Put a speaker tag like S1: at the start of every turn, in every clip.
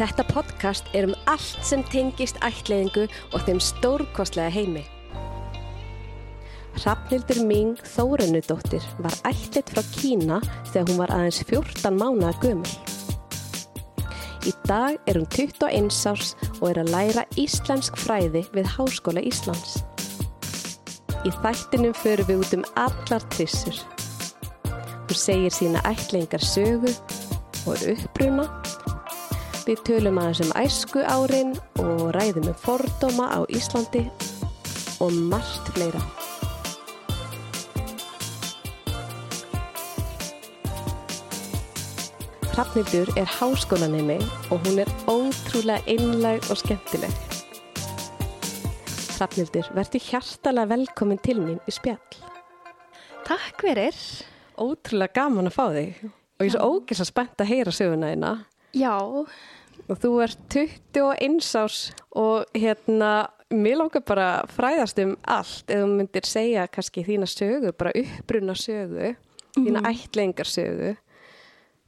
S1: Þetta podcast er um allt sem tengist ættleiðingu og þeim stórkostlega heimi. Hrafnildur Ming Þórunudóttir var ættleitt frá Kína þegar hún var aðeins 14 mánaða gömul. Í dag er hún 21 árs og er að læra íslensk fræði við Háskóla Íslands. Í þættinum förum við út um allar trissur. Hún segir sína ættleiðingar sögu og uppruna. Við tölum aðeins um æsku árin og ræðum um fordóma á Íslandi og margt fleira. Hrafnildur er háskólanemi og hún er ótrúlega einlæg og skemmtileg. Hrafnildur, verður hjartalega velkomin til mín í spjall.
S2: Takk fyrir.
S1: Ótrúlega gaman að fá þig og ég er svo ógæs að spennt að heyra söguna þína.
S2: Já,
S1: Og þú ert 21 árs og hérna, mér langar bara að fræðast um allt eða þú myndir segja kannski þína sögu, bara uppruna sögu,
S2: Mhm.
S1: þína ættlengar sögu,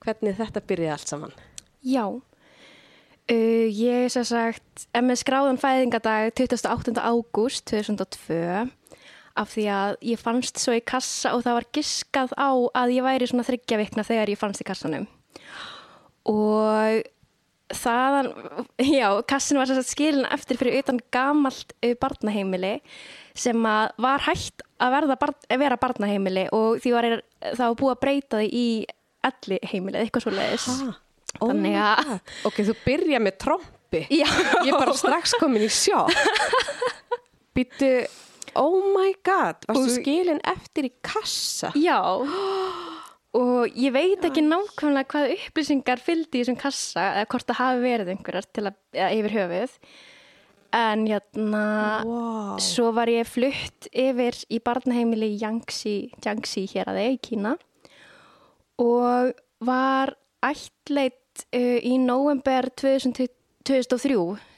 S1: hvernig þetta byrjaði allt saman.
S2: já. Uh, ég sem sagt, er með skráðan fæðingadag 28. ágúst 2002 af því að ég fannst svo í kassa og það var giskað á að ég væri svona þryggja vikna þegar ég fannst í kassanum. Og þaðan, já, kassin var sem sagt skilin eftir fyrir utan gamalt eh, barnaheimili sem að var hægt að verða barn, eh, vera barnaheimili og því var það var búið að breyta því í elli heimili, eitthvað svo leiðis. Þannig að-
S1: Ok, þú byrja með trompi.
S2: Já.
S1: Ég er bara strax komin í sjokk. Býttu, oh my god, varstu
S2: Og-
S1: skilin eftir í kassa?
S2: Já. Og ég veit ekki nákvæmlega hvað upplýsingar fylgdi í þessum kassa eða hvort það hafi verið einhverjar til að, eða yfir höfuð. En hérna,
S1: Wow.
S2: svo var ég flutt yfir í barnaheimili í Yangtze, Yangtze hér að þeir í Kína og var ættleitt uh, í november 2003,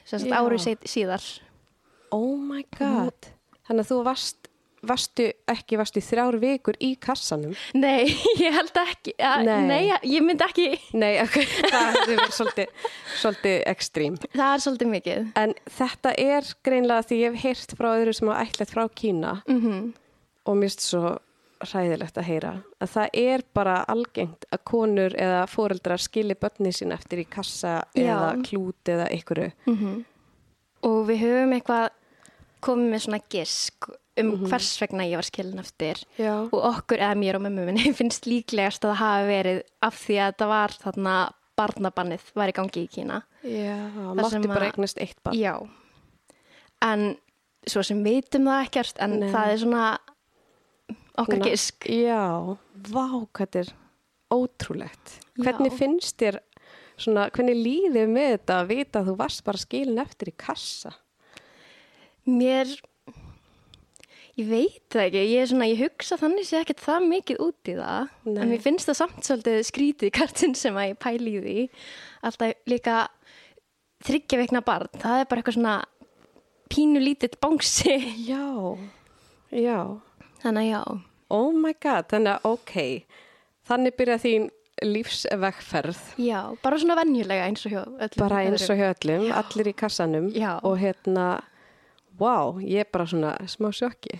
S2: sem sagt
S1: Já.
S2: árið seit- síðar.
S1: Oh my god. Þannig að þú varst, varstu, ekki varstu í þrjár vikur í kassanum.
S2: Nei, ég held ekki, ja,
S1: Nei.
S2: nei. ég myndi ekki,
S1: Nei, ok, það hefur verið svolítið, svolítið ekstrím.
S2: það er svolítið mikið.
S1: En þetta er greinlega því ég hef heyrt frá öðru sem hafa ætlet frá Kína
S2: Mhm.
S1: og mér finnst svo hræðilegt að heyra að það er bara algengt að konur eða fóreldrar skilji börni sín eftir í kassa eða
S2: Já.
S1: klút eða einhverju.
S2: mhm. Og við höfum eitthvað komið með svona gisk um hvers vegna ég var skilin eftir.
S1: Já.
S2: Og okkur, eða mér og mömmu minni, finnst líklegast að það hafi verið af því að það var þarna barnabannið var í gangi í Kína.
S1: Já,
S2: Það
S1: máttu
S2: sem
S1: bara
S2: að-
S1: eignast eitt barn.
S2: Já. En svo sem vitum það ekkert, en
S1: Nei.
S2: það er svona okkar
S1: Na-
S2: gisk.
S1: Já, vá, hvað þetta er ótrúlegt.
S2: Já.
S1: Hvernig finnst þér, svona, hvernig líðið með þetta að vita að þú varst bara skilin eftir í kassa?
S2: Mér, ég veit það ekki, ég, er svona, ég hugsa þannig sé ekkert það mikið út í það,
S1: Nei.
S2: en mér finnst það samt svolítið skrítið kartinn sem að ég pæli í því, alltaf líka þryggja veikna barn, það er bara eitthvað svona pínu lítill bánsi,
S1: Já, já.
S2: þannig að já,
S1: Oh my god, þannig að ok, þannig byrja þín lífsvegferð.
S2: já, bara svona venjulega eins og hjá öllum.
S1: Bara eins og
S2: öðrum.
S1: hjá öllum, allir í kassanum
S2: Já.
S1: og hérna, wow, ég er bara svona smá sjokki.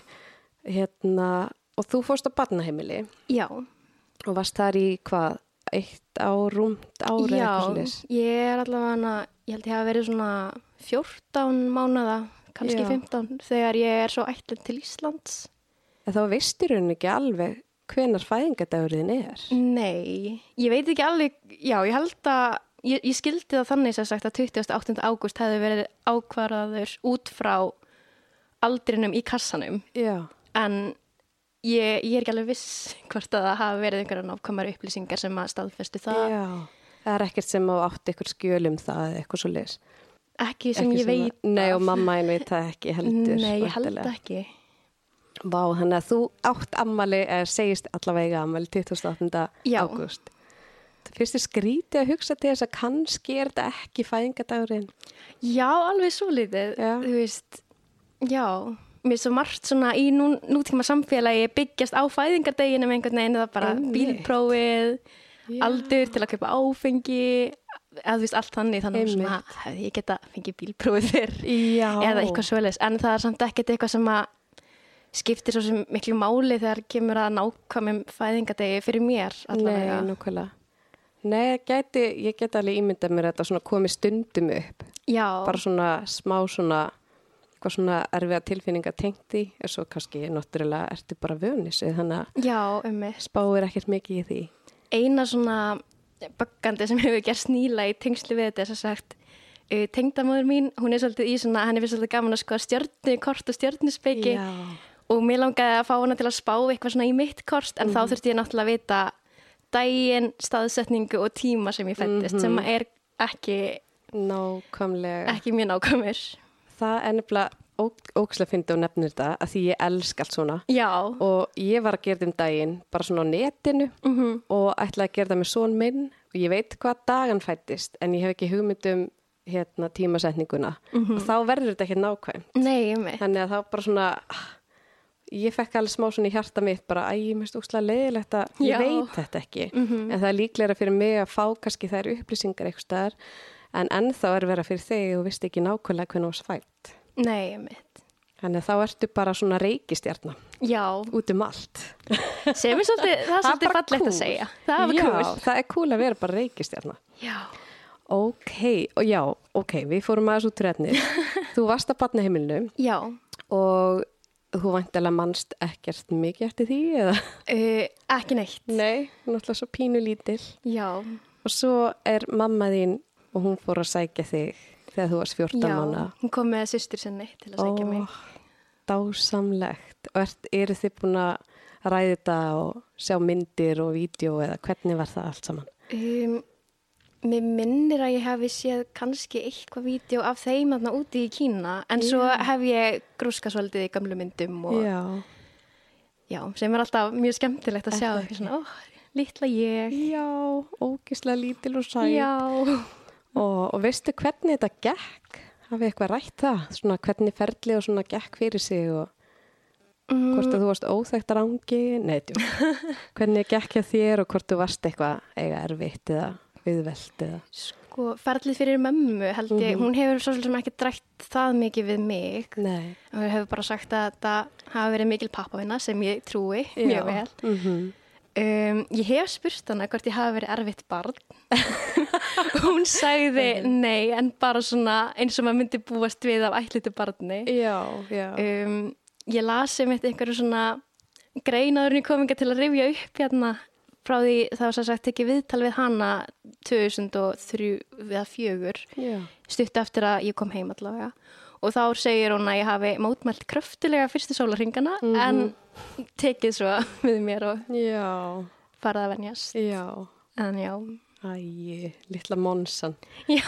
S1: Hérna, og þú fórst á barnaheimili
S2: Já,
S1: og varst þar í hvað, eitt ár, rúmt ár eða eitthvað
S2: já,
S1: svoleiðis?
S2: ég er allavega, ég held ég hafa verið svona 14 mánada, kannski
S1: Já.
S2: 15, þegar ég er svo ætlinn til Íslands.
S1: En þá veistir hún ekki alveg hvenar fæðingadagurðin er.
S2: Nei, ég veit ekki alveg, já, ég held að, ég, ég skildi það þannig sem sagt að 28. ágúst hefði verið ákvarðaður út frá aldrinum í kassanum,
S1: Já.
S2: en ég, ég er ekki alveg viss hvort að það hafi verið einhverja nákvæmari upplýsingar sem að staðfestu það,
S1: Já. Það er ekkert sem á átt ykkur skjölum það eða eitthvað svo leis.
S2: ekki sem ég veit.
S1: Nei
S2: af.
S1: og mamma einn veit það ekki heldur.
S2: Nei, ég held
S1: væntanlega.
S2: ekki.
S1: Vá, þannig að þú átt ammali, eða segist allavega eiga ammali 28.
S2: Já.
S1: ágúst. Það fyrst er skrítið að hugsa til þess að kannski er þetta ekki fæðingadagurinn.
S2: Já, alveg svo litið,
S1: Já.
S2: þú veist, já, mér er svo margt svona í nú, nútíma samfélagi byggjast á fæðingardeginum einhvern veginn, það bara
S1: Einmitt.
S2: bílprófið, aldur til að kaupa áfengi, eða þú veist allt þannig þannig að
S1: Einmitt.
S2: svona, hefði ég geta fengið bílprófið fyrr
S1: Já.
S2: eða eitthvað svoleiðis, en það er samt ekkert eitthvað sem að skiptir svo sem miklu máli þegar kemur að nákvæmum fæðingadegi fyrir mér allavega.
S1: Nei, nokkulega. Nei, ég gæti, ég geti alveg ímyndað mér að þetta svona komi stundum upp.
S2: Já,
S1: Bara svona smá svona, eitthvað svona erfiða tilfinninga tengt í, en svo kannski náttúrulega ertu bara vönis, eða þannig að
S2: já, um
S1: spáir ekkert mikið í því.
S2: eina svona bakkandi sem hefur gerst nýla í tengslu við þetta er sem sagt uh, tengdamóður mín, hún er svolítið í svona henni finnst svolítið gaman að skoða stjörnukort og stjörnuspeki og mér langaði að fá hana til að spá eitthvað svona í mitt kort en
S1: Mhm.
S2: þá þurfti ég náttúrulega að vita daginn, staðsetningu og tíma sem ég fættist sem
S1: Mhm.
S2: er
S1: Eh.
S2: ekki,
S1: Nákvæmlega.
S2: ekki mjög nákvæmur
S1: Það er nefnilega ók- ógeðslega fyndið og nefnir þetta að því ég elsk allt svona
S2: Já,
S1: og ég var að gera þetta um daginn bara svona á netinu -hmm. og ætlaði að gera þetta með són minn og ég veit hvað dagan fættist en ég hef ekki hugmynd um hérna, tímasetninguna og þá verður þetta ekki nákvæm
S2: nei, um
S1: þannig að þá bara svona ah, ég fekk alveg smá svona í hjarta mitt bara að ég mest úkslega leiðilegt að
S2: Já.
S1: ég veit þetta ekki en það er líklega fyrir mig að fá kannski þær upplýsingar eitthvað staðar en ennþá er vera fyrir þig og vist ekki nákvæmlega hvernig þú var svætt
S2: nei, um
S1: Þannig að þá ertu bara svona reikistjarnar
S2: Já,
S1: út um allt.
S2: sem er svolítið, það er
S1: Það er
S2: svolítið
S1: bara
S2: fallegt
S1: cool.
S2: að segja Það var
S1: já,
S2: cool
S1: það er cool að vera bara reikistjarnar.
S2: Já,
S1: Ok, og já, ok, við fórum aðeins út reyðnir. þú varst að batna heimilinu
S2: já
S1: og þú vantilega mannst ekkert mikið eftir því eða?
S2: Uh, ekki neitt,
S1: Nei, náttúrulega svo pínu lítil.
S2: já,
S1: Og svo er mamma þín og hún fór að sækja þig þegar þú varst 14
S2: já,
S1: mánu.
S2: hún kom með sýstur sinni til að segja mig.
S1: Dásamlegt. Og er, eru þið búin að ræða þetta og sjá myndir og vídeo eða hvernig var það allt saman?
S2: Um, mér minnir að ég hefði séð kannski eitthvað vídeo af þeim aðna úti í Kína, en svo hef ég grúska svolítið í gamlu myndum og já,
S1: Já.
S2: sem er alltaf mjög skemmtilegt að sjá, ekki svona, ó, litla ég,
S1: Já, ógislega lítil og sæl.
S2: já,
S1: Og, og veistu hvernig þetta gekk? Hafið eitthvað rætt það? Svona hvernig ferli og svona gekk fyrir sig og
S2: Mm,
S1: hvort að þú varst óþægt rangi? Nei, djú. hvernig gekk hjá þér og hvort þú varst eitthvað eiga erfitt eða viðvelt eða?
S2: sko, ferlið fyrir mömmu held
S1: Mhm.
S2: ég, hún hefur svo sem ekki drætt það mikið við mig,
S1: Nei.
S2: hún hefur bara sagt að þetta hafi verið mikil pappavinna sem ég trúi
S1: Já.
S2: mjög vel.
S1: Mm
S2: Um, ég hef spurt hana hvort ég hafi verið erfitt barn. Hún sagði nei, en bara svona eins og maður myndi búast við af ætlitu barni.
S1: Já, já.
S2: Um, ég lasi mitt einhverju svona greinaðurinn í kominga til að rifja upp hérna frá því það var svo sagt ekki viðtal við hana 2003 eða 4
S1: já.
S2: stutt eftir að ég kom heim allavega og þá segir hún að ég hafi mótmælt kröftulega fyrstu sólarringana en tekið svo við mér og
S1: Já,
S2: farið að venjast.
S1: já.
S2: En já,
S1: Æi, litla monsan.
S2: já,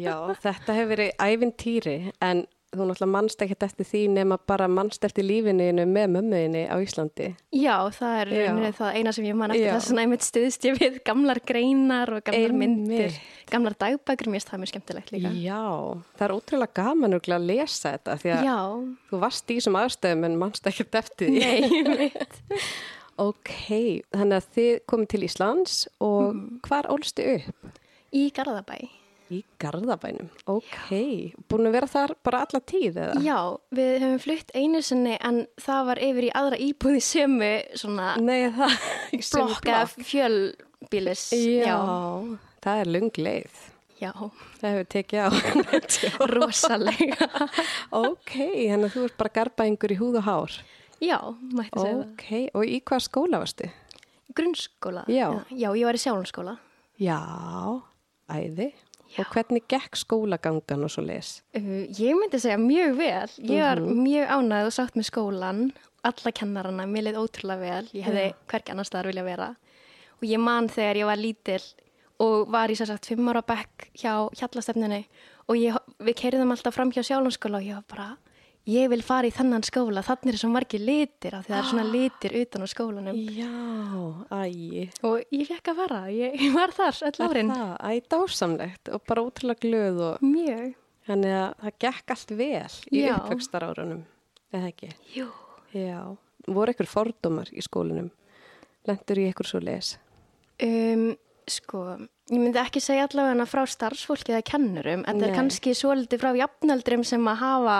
S1: Já, þetta hefur verið ævintýri en þú náttúrulega mannst ekkert eftir því nema bara mannst eftir lífinu með mömmuðinni á Íslandi.
S2: já það er
S1: Já.
S2: já. það eina sem ég man eftir
S1: Já.
S2: þess að næmitt stuðst ég við gamlar greinar og gamlar myndir,
S1: Einmitt.
S2: gamlar dagbækur, mér finnst það mjög skemmtilegt líka.
S1: Já, það er ótrúlega gaman örugglega að lesa þetta því að
S2: Já,
S1: þú varst í þessum aðstöðum en mannst ekkert eftir því.
S2: nei, mitt.
S1: Ok, þannig að þið komið til Íslands og hvar ólstu upp?
S2: Í Garðabæ.
S1: Í Garðabænum. Ok, búin að vera þar bara alla tíð eða?
S2: Já, við höfum flutt einu sinni en það var yfir í aðra íbúði sömu svona
S1: Nei, það Sömu
S2: blokka fjölbílis.
S1: Já,
S2: Já,
S1: það er lung leið.
S2: já,
S1: Það hefur tekið á.
S2: rosalega.
S1: ok, þannig að þú ert bara garbaðingur í húð og hár.
S2: já, mætti segja það.
S1: Ok, og í hvað skóla varstu?
S2: Grunnskóla.
S1: Já.
S2: Já, ég var í sjálfskóla.
S1: Já, æði. Og hvernig gekk skólagangan og svo les?
S2: Uh, Ég myndi segja mjög vel. Ég var mjög ánægð og sátt með skólan, alla kennarana, mér leið ótrúlega vel. Ég hefði hvergi annars staðar vilja vera. Og ég man þegar ég var lítil og var í sér sagt fimm ára bekk hjá hjallastefnunni og ég, við keiriðum alltaf fram hjá sjálfanskóla og ég var bara, ég vil fara í þennan skóla, þannig er svo margir litir af því það er svona litir utan á skólanum.
S1: Já, æði.
S2: Og ég fekk að fara, ég, ég var þar öll árin.
S1: Það, æði dásamlegt og bara ótrúlega glöð og
S2: Mjög.
S1: þannig að það gekk allt vel í
S2: Já.
S1: uppvöxtar árunum, eða ekki?
S2: Jú.
S1: Já, voru ykkur fordómar í skólanum? Lendur í ykkur svo les?
S2: Um, sko, Ég myndi ekki segja allavega hana frá starfsfólki eða kennurum, en það er
S1: Nei.
S2: kannski svolítið frá jafnaldrum sem að hafa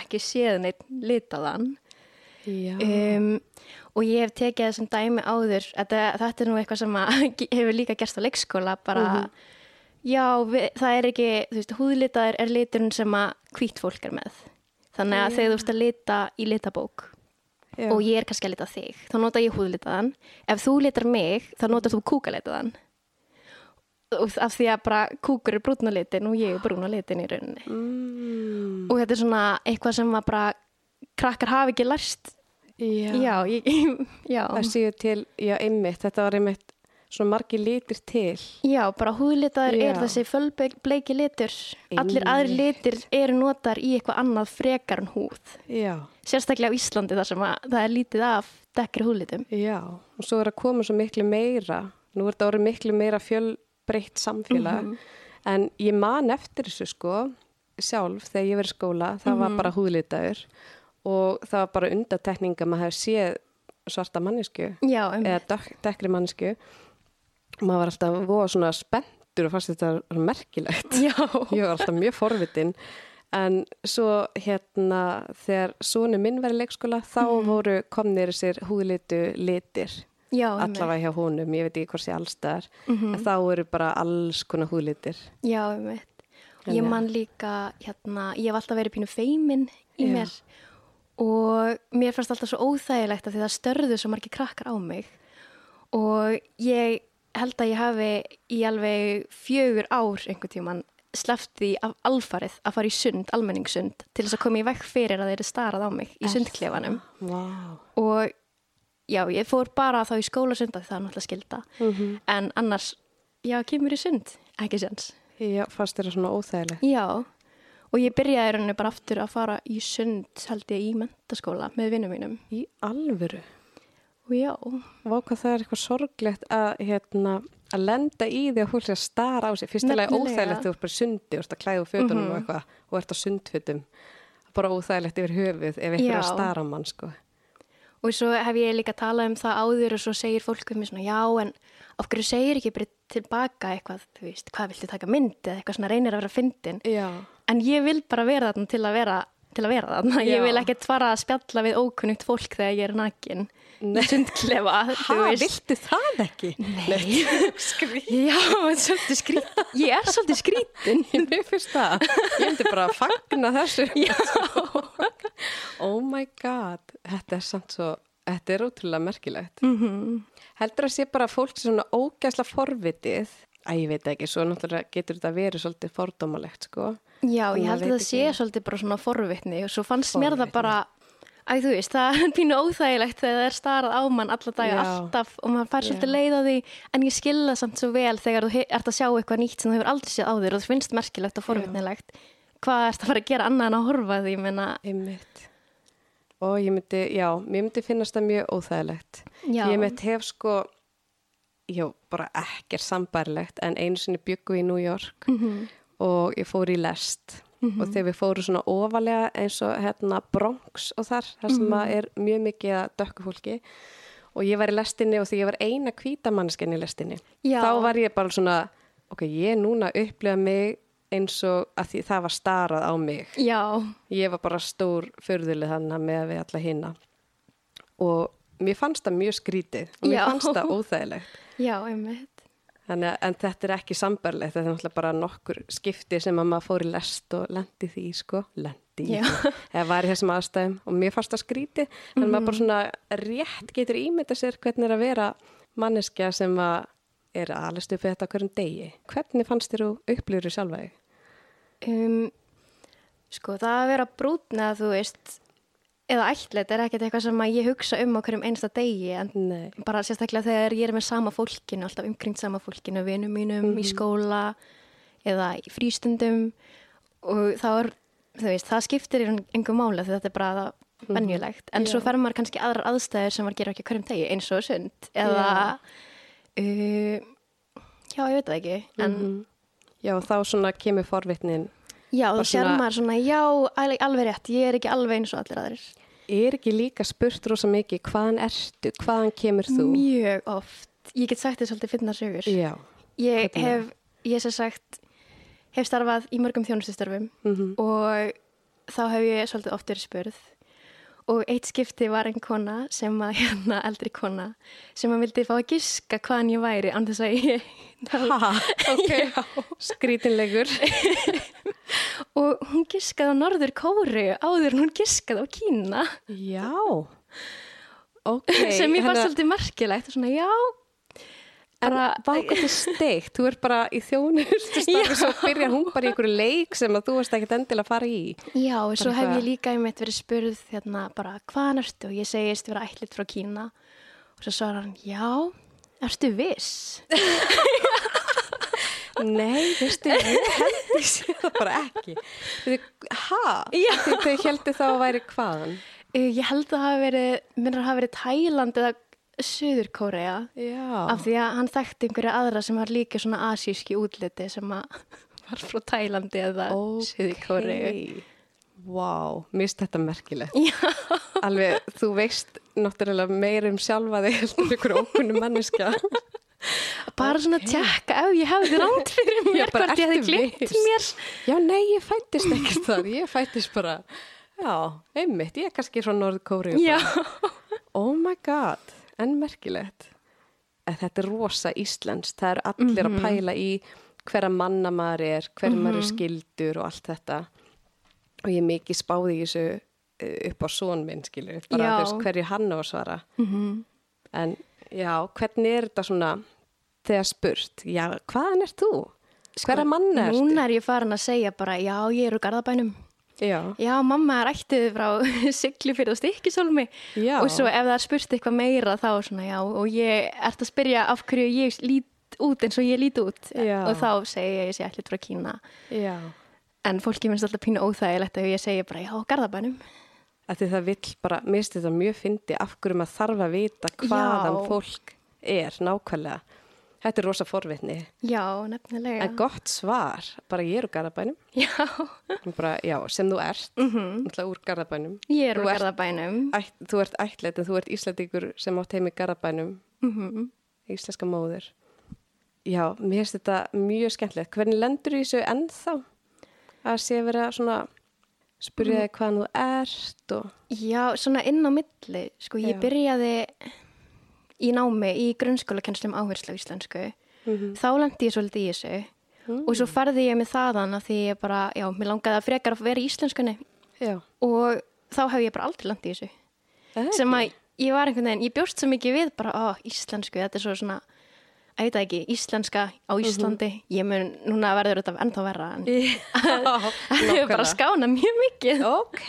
S2: ekki séð neitt litaðan.
S1: Já.
S2: Um, og ég hef tekið þessum dæmi áður, þetta, þetta er nú eitthvað sem að hefur líka gerst á leikskóla, bara
S1: Mhm.
S2: já, við, það er ekki, þú veist, húðlitaður er liturinn sem að hvít fólk er með. Þannig að þegar þú veist að lita í litabók
S1: Já.
S2: og ég er kannski að lita þig, þá nota ég húðlitaðan. Ef þú litar mig, þá notar þú kúkalitaðan. Og af því að bara kúkur er brúna litin og ég er brúna litin í rauninni.
S1: Mm,
S2: Og þetta er svona eitthvað sem að bara krakkar hafi ekki lært
S1: já.
S2: Já, ég, já.
S1: Það séu til, já, einmitt, þetta var einmitt svona margi litir til.
S2: já, bara húðlitaður
S1: Já.
S2: er þessi fölbleiki litur. Allir aðri litir eru notar í eitthvað annað frekar en húð.
S1: Já,
S2: Sérstaklega á Íslandi þar sem að, það er lítið af dekkri húðlitum.
S1: já. Og svo er að koma svo miklu meira, nú er þetta orðið miklu meira fjölbreytt samfélag, en ég man eftir þessu sko, sjálf, þegar ég verið í skóla, það var bara húðlitaður og það var bara undatekning að maður hefði séð svarta mannesku.
S2: Já, um,
S1: eða dökk- dekkri mannsku og maður var alltaf voða svona spenntur og fannst þetta var merkilegt
S2: já.
S1: ég var alltaf mjög forvitin en svo hérna þegar sonu minn var í leikskóla þá
S2: Mhm.
S1: voru komnir sér húðlitu litir
S2: já, um,
S1: allavega hjá honum, ég veit ekki hvort sé allstaðar
S2: Mhm.
S1: en þá eru bara alls konar húðlitir
S2: já, um, ég man líka, hérna, ég hef alltaf verið pínu feimin í
S1: Já.
S2: mér og mér fannst alltaf svo óþægilegt af því það störðu svo margir krakkar á mig og ég held að ég hafi í alveg fjögur ár einhvern tíman sleppt því af alfarið að fara í sund, almenningssund til þess að koma í vekk fyrir að þeir eru starað á mig í sundklefanum
S1: wow.
S2: og já, ég fór bara þá í skóla sunda því það er náttúrulega skilda en annars, já, kemur í sund ekki sens
S1: já, fannst þetta svona óþægilegt
S2: Já, og ég byrjaði í rauninni bara aftur að fara í sund held ég í mentaskóla með vinnum mínum.
S1: í alvöru
S2: Og já,
S1: Vá hvað það er eitthvað sorglegt að, hérna, að lenda í því að hún sé að stara á sig. Fyrst er
S2: Nefnilega. Mhm.
S1: óþægilegt þú ert bara í sundi, þú ert að klæða úr fötunum og eitthvað og ert á sundfötum. Bara óþægilegt yfir höfuð ef einhver er að
S2: Já.
S1: stara á mann, sko.
S2: og svo hef ég líka talað um það áður og svo segir fólk um mig svona já, en af hverju segir ekki bara tilbaka eitthvað, þú veist, hvað viltu taka mynd eða eitthvað svona reynir að vera fyndin.
S1: Já.
S2: En ég vil bara vera þarna til að vera til að vera þarna.
S1: Já.
S2: Ég vil ekkert fara að spjalla við ókunnugt fólk þegar ég er nakin. Nei. Sundklefa,
S1: Ha, viltu það ekki?
S2: Nei. Já, þetta er svolítið skrít. Ég er svolítið skrítin.
S1: Mér finnst það. Ég myndi bara að fagna þessu. Já. oh my god. Þetta er samt svo, þetta er ótrúlega merkilegt. Mm -hmm. Heldur að sé bara fólk sem svona ógæsla forvitið. Æ, ég veit ekki, svo náttúrulega getur þetta verið svolítið fordómalegt, sko.
S2: Já,
S1: Maður
S2: ég held
S1: veit
S2: að það
S1: ekki.
S2: sé svolítið bara svona forvitni og svo fannst mér það
S1: Forvitni.
S2: bara, æ þú veist, það er pínu óþægilegt þegar það er starað á mann alla daga
S1: Já.
S2: alltaf og maður fær svolítið
S1: Já.
S2: leið á því en ég skilða það samt svo vel þegar þú he- ert að sjá eitthvað nýtt sem þú hefur aldrei séð á þér og þú finnst merkilegt og forvitnilegt. Hvað ert að fara að gera annað en að horfa að því, ég menna,
S1: Einmitt. Og ég myndi, já, mér myndi finnast það mjög óþægilegt.
S2: Já.
S1: Ég myndi hef sko, já, bara ekkert sambærilegt, en einu sinni byggu í New York
S2: Mhm.
S1: og ég fór í lest. Og þegar við fóru svona ofalega eins og hérna Bronx og þar, þar
S2: Mhm.
S1: sem mm er mjög mikið að dökku fólki. Og ég var í lestinni og því ég var eina hvítamannisken í lestinni.
S2: Já.
S1: Þá var ég bara svona, ok, ég er núna að upplifa mig eins og að því það var starað á mig.
S2: já,
S1: Ég var bara stór förðuleg þannig með að við alla hinna og mér fannst það mjög skrítið og mér
S2: Já.
S1: fannst það óþægilegt.
S2: já, einmitt,
S1: Þannig, að- en þetta er ekki sambarlegt, þetta er náttúrulega bara nokkur skipti sem að maður fór í lest og lendi því, sko, lendi
S2: Já.
S1: því, eða var í þessum aðstæðum og mér fannst það skrítið, þannig að maður
S2: Mhm.
S1: bara svona rétt getur ímynda sér hvernig er að vera manneskja sem að er aðlist upp við þetta á hverjum degi. Hvernig fannst þér þú upplýru sjálfa þig?
S2: um, sko það að vera brútna þú veist, eða ætlet er ekkert eitthvað sem að ég hugsa um á hverjum einsta degi en
S1: Nei.
S2: bara sérstaklega þegar ég er með sama fólkinu, alltaf umkringt sama fólkinu, vinum mínum
S1: Mhm.
S2: í skóla eða í frístundum og þá er, þú veist, það skiptir einhver mála því þetta er bara það
S1: Mhm.
S2: venjulegt. En svo fer maður kannski aðrar aðstæður sem maður gerur ekki á hverjum degi eins og sund eða, uh, já, ég veit það ekki, en
S1: Mhm. Já, þá svona kemur forvitnin
S2: já,
S1: Bara
S2: þá sér
S1: svona-
S2: maður svona, já, al- alveg rétt, ég er ekki alveg eins og allir aðrir.
S1: Er ekki líka spurt rosa mikið hvaðan ertu, hvaðan kemur þú?
S2: Mjög oft, ég get sagt þér svolítið finna sögur.
S1: Já,
S2: Ég
S1: Hvernig?
S2: hef, ég sem sagt, hef starfað í mörgum þjónustustörfum
S1: Mhm.
S2: og þá hef ég svolítið oft verið spurð og eitt skipti var einn kona sem að, hérna, eldri kona sem að vildi fá að giska hvaðan ég væri án þess að ég
S1: Ha, ok. Skrítinlegur.
S2: og hún giskaði á norður kóru áður en hún giskaði á Kína
S1: Já. Ok. hérna-
S2: sem ég
S1: þannig
S2: fannst
S1: að-
S2: svolítið merkilegt og svona já bara,
S1: En vákvæmt er steikt, þú ert bara í þjónustu starfi svo
S2: Já.
S1: byrjar hún bara í einhverju leik sem að þú varst ekkert endilega að fara í.
S2: já, og svo hef
S1: eitthvað-
S2: ég líka einmitt verið spurð hérna bara hvaðan ertu og ég segist vera ætlit frá Kína og svo svarar hann já, ertu viss?
S1: Nei, veistu, ég held ég sé það bara ekki. Þið, ha?
S2: Já.
S1: Þið, þau heldur þá að væri hvaðan?
S2: Uh, Ég held að það hafi verið, minnir að hafa verið Tæland eða Suður Kórea
S1: Já.
S2: af því að hann þekkti einhverja aðra sem var líka svona asíski útliti sem að var frá Tælandi eða Suður Kóreu.
S1: Vá, mér finnst þetta merkilegt.
S2: Já,
S1: Alveg, þú veist náttúrulega meir um sjálfa þig heldur en einhver ókunni manneskja.
S2: bara svona tjekka ef ég hefði ránt fyrir mér
S1: bara,
S2: hvort ég hefði
S1: ertu
S2: glimt
S1: viss?
S2: mér.
S1: Já, nei, ég fættist ekkert þar. Ég fættist bara, já, einmitt, ég er kannski frá Norð-Kóri.
S2: Já,
S1: Oh my god, en merkilegt. En þetta er rosa íslenskt, það eru allir
S2: Mhm.
S1: að pæla í hverja manna maður er, hverja maður er skildur og allt þetta. Og ég er mikið spáði í þessu eh, upp á són minn, skilur, bara
S2: Já. Mhm.
S1: þú veist hverju hann á að svara. En já, hvernig er þetta svona þegar spurt, já, hvaðan er þú? Hverja manna er þú?
S2: Sko, núna er ég farin að segja bara já, ég er úr Garðabænum.
S1: Já,
S2: Já, mamma er ættið frá sigli fyrir og stikkisólmi
S1: Já.
S2: og svo ef það er spurt eitthvað meira þá er svona já og ég ert að spyrja af hverju ég lít út eins og ég lít út
S1: Já.
S2: og þá segi ég að ég sé ættið frá Kína
S1: já.
S2: en fólki finnst alltaf pínu óþægilegt ef ég segi bara já, garðabænum
S1: Af Því það vill bara, mér finnst þetta mjög fyndi af hverju maður þarf að vita hvaðan
S2: Já.
S1: fólk er nákvæmlega. Þetta er rosa forvitni.
S2: Já, nefnilega
S1: En gott svar, bara ég er úr Garðabænum,
S2: Já,
S1: bara, já, sem þú ert, mm
S2: Mhm.
S1: -hmm. úr Garðabænum.
S2: ég er úr
S1: Þú ert-
S2: garðabænum
S1: Ætt, þú ert ætlætt en þú ert Íslandingur sem átt heim í Garðabænum,
S2: Mhm.
S1: íslenska móður. Já, mér finnst þetta mjög skemmtilegt. Hvernig lendur í þessu ennþá að sé vera svona, spurja
S2: Mm.
S1: þig hvaðan þú ert og...
S2: Já, svona inn á milli sko,
S1: Já.
S2: ég byrjaði í námi í grunnskóla kennslum áherslu á íslensku
S1: Mhm. Mm.
S2: þá lendi ég svolítið í þessu og svo færði ég mig þaðan að því ég bara, já, mér langaði að frekar að vera í íslenskunni
S1: Já.
S2: og þá hef ég bara aldrei landið í þessu
S1: Eh?
S2: sem að ég var einhvern veginn, ég bjóst svo mikið við bara, ó, íslensku, þetta er svo svona að veit það ekki, íslenska á
S1: Mhm.
S2: Íslandi ég mun, núna verður þetta ennþá verra en það hefur bara
S1: Nákvæmlega.
S2: skána mjög mikið
S1: Ok.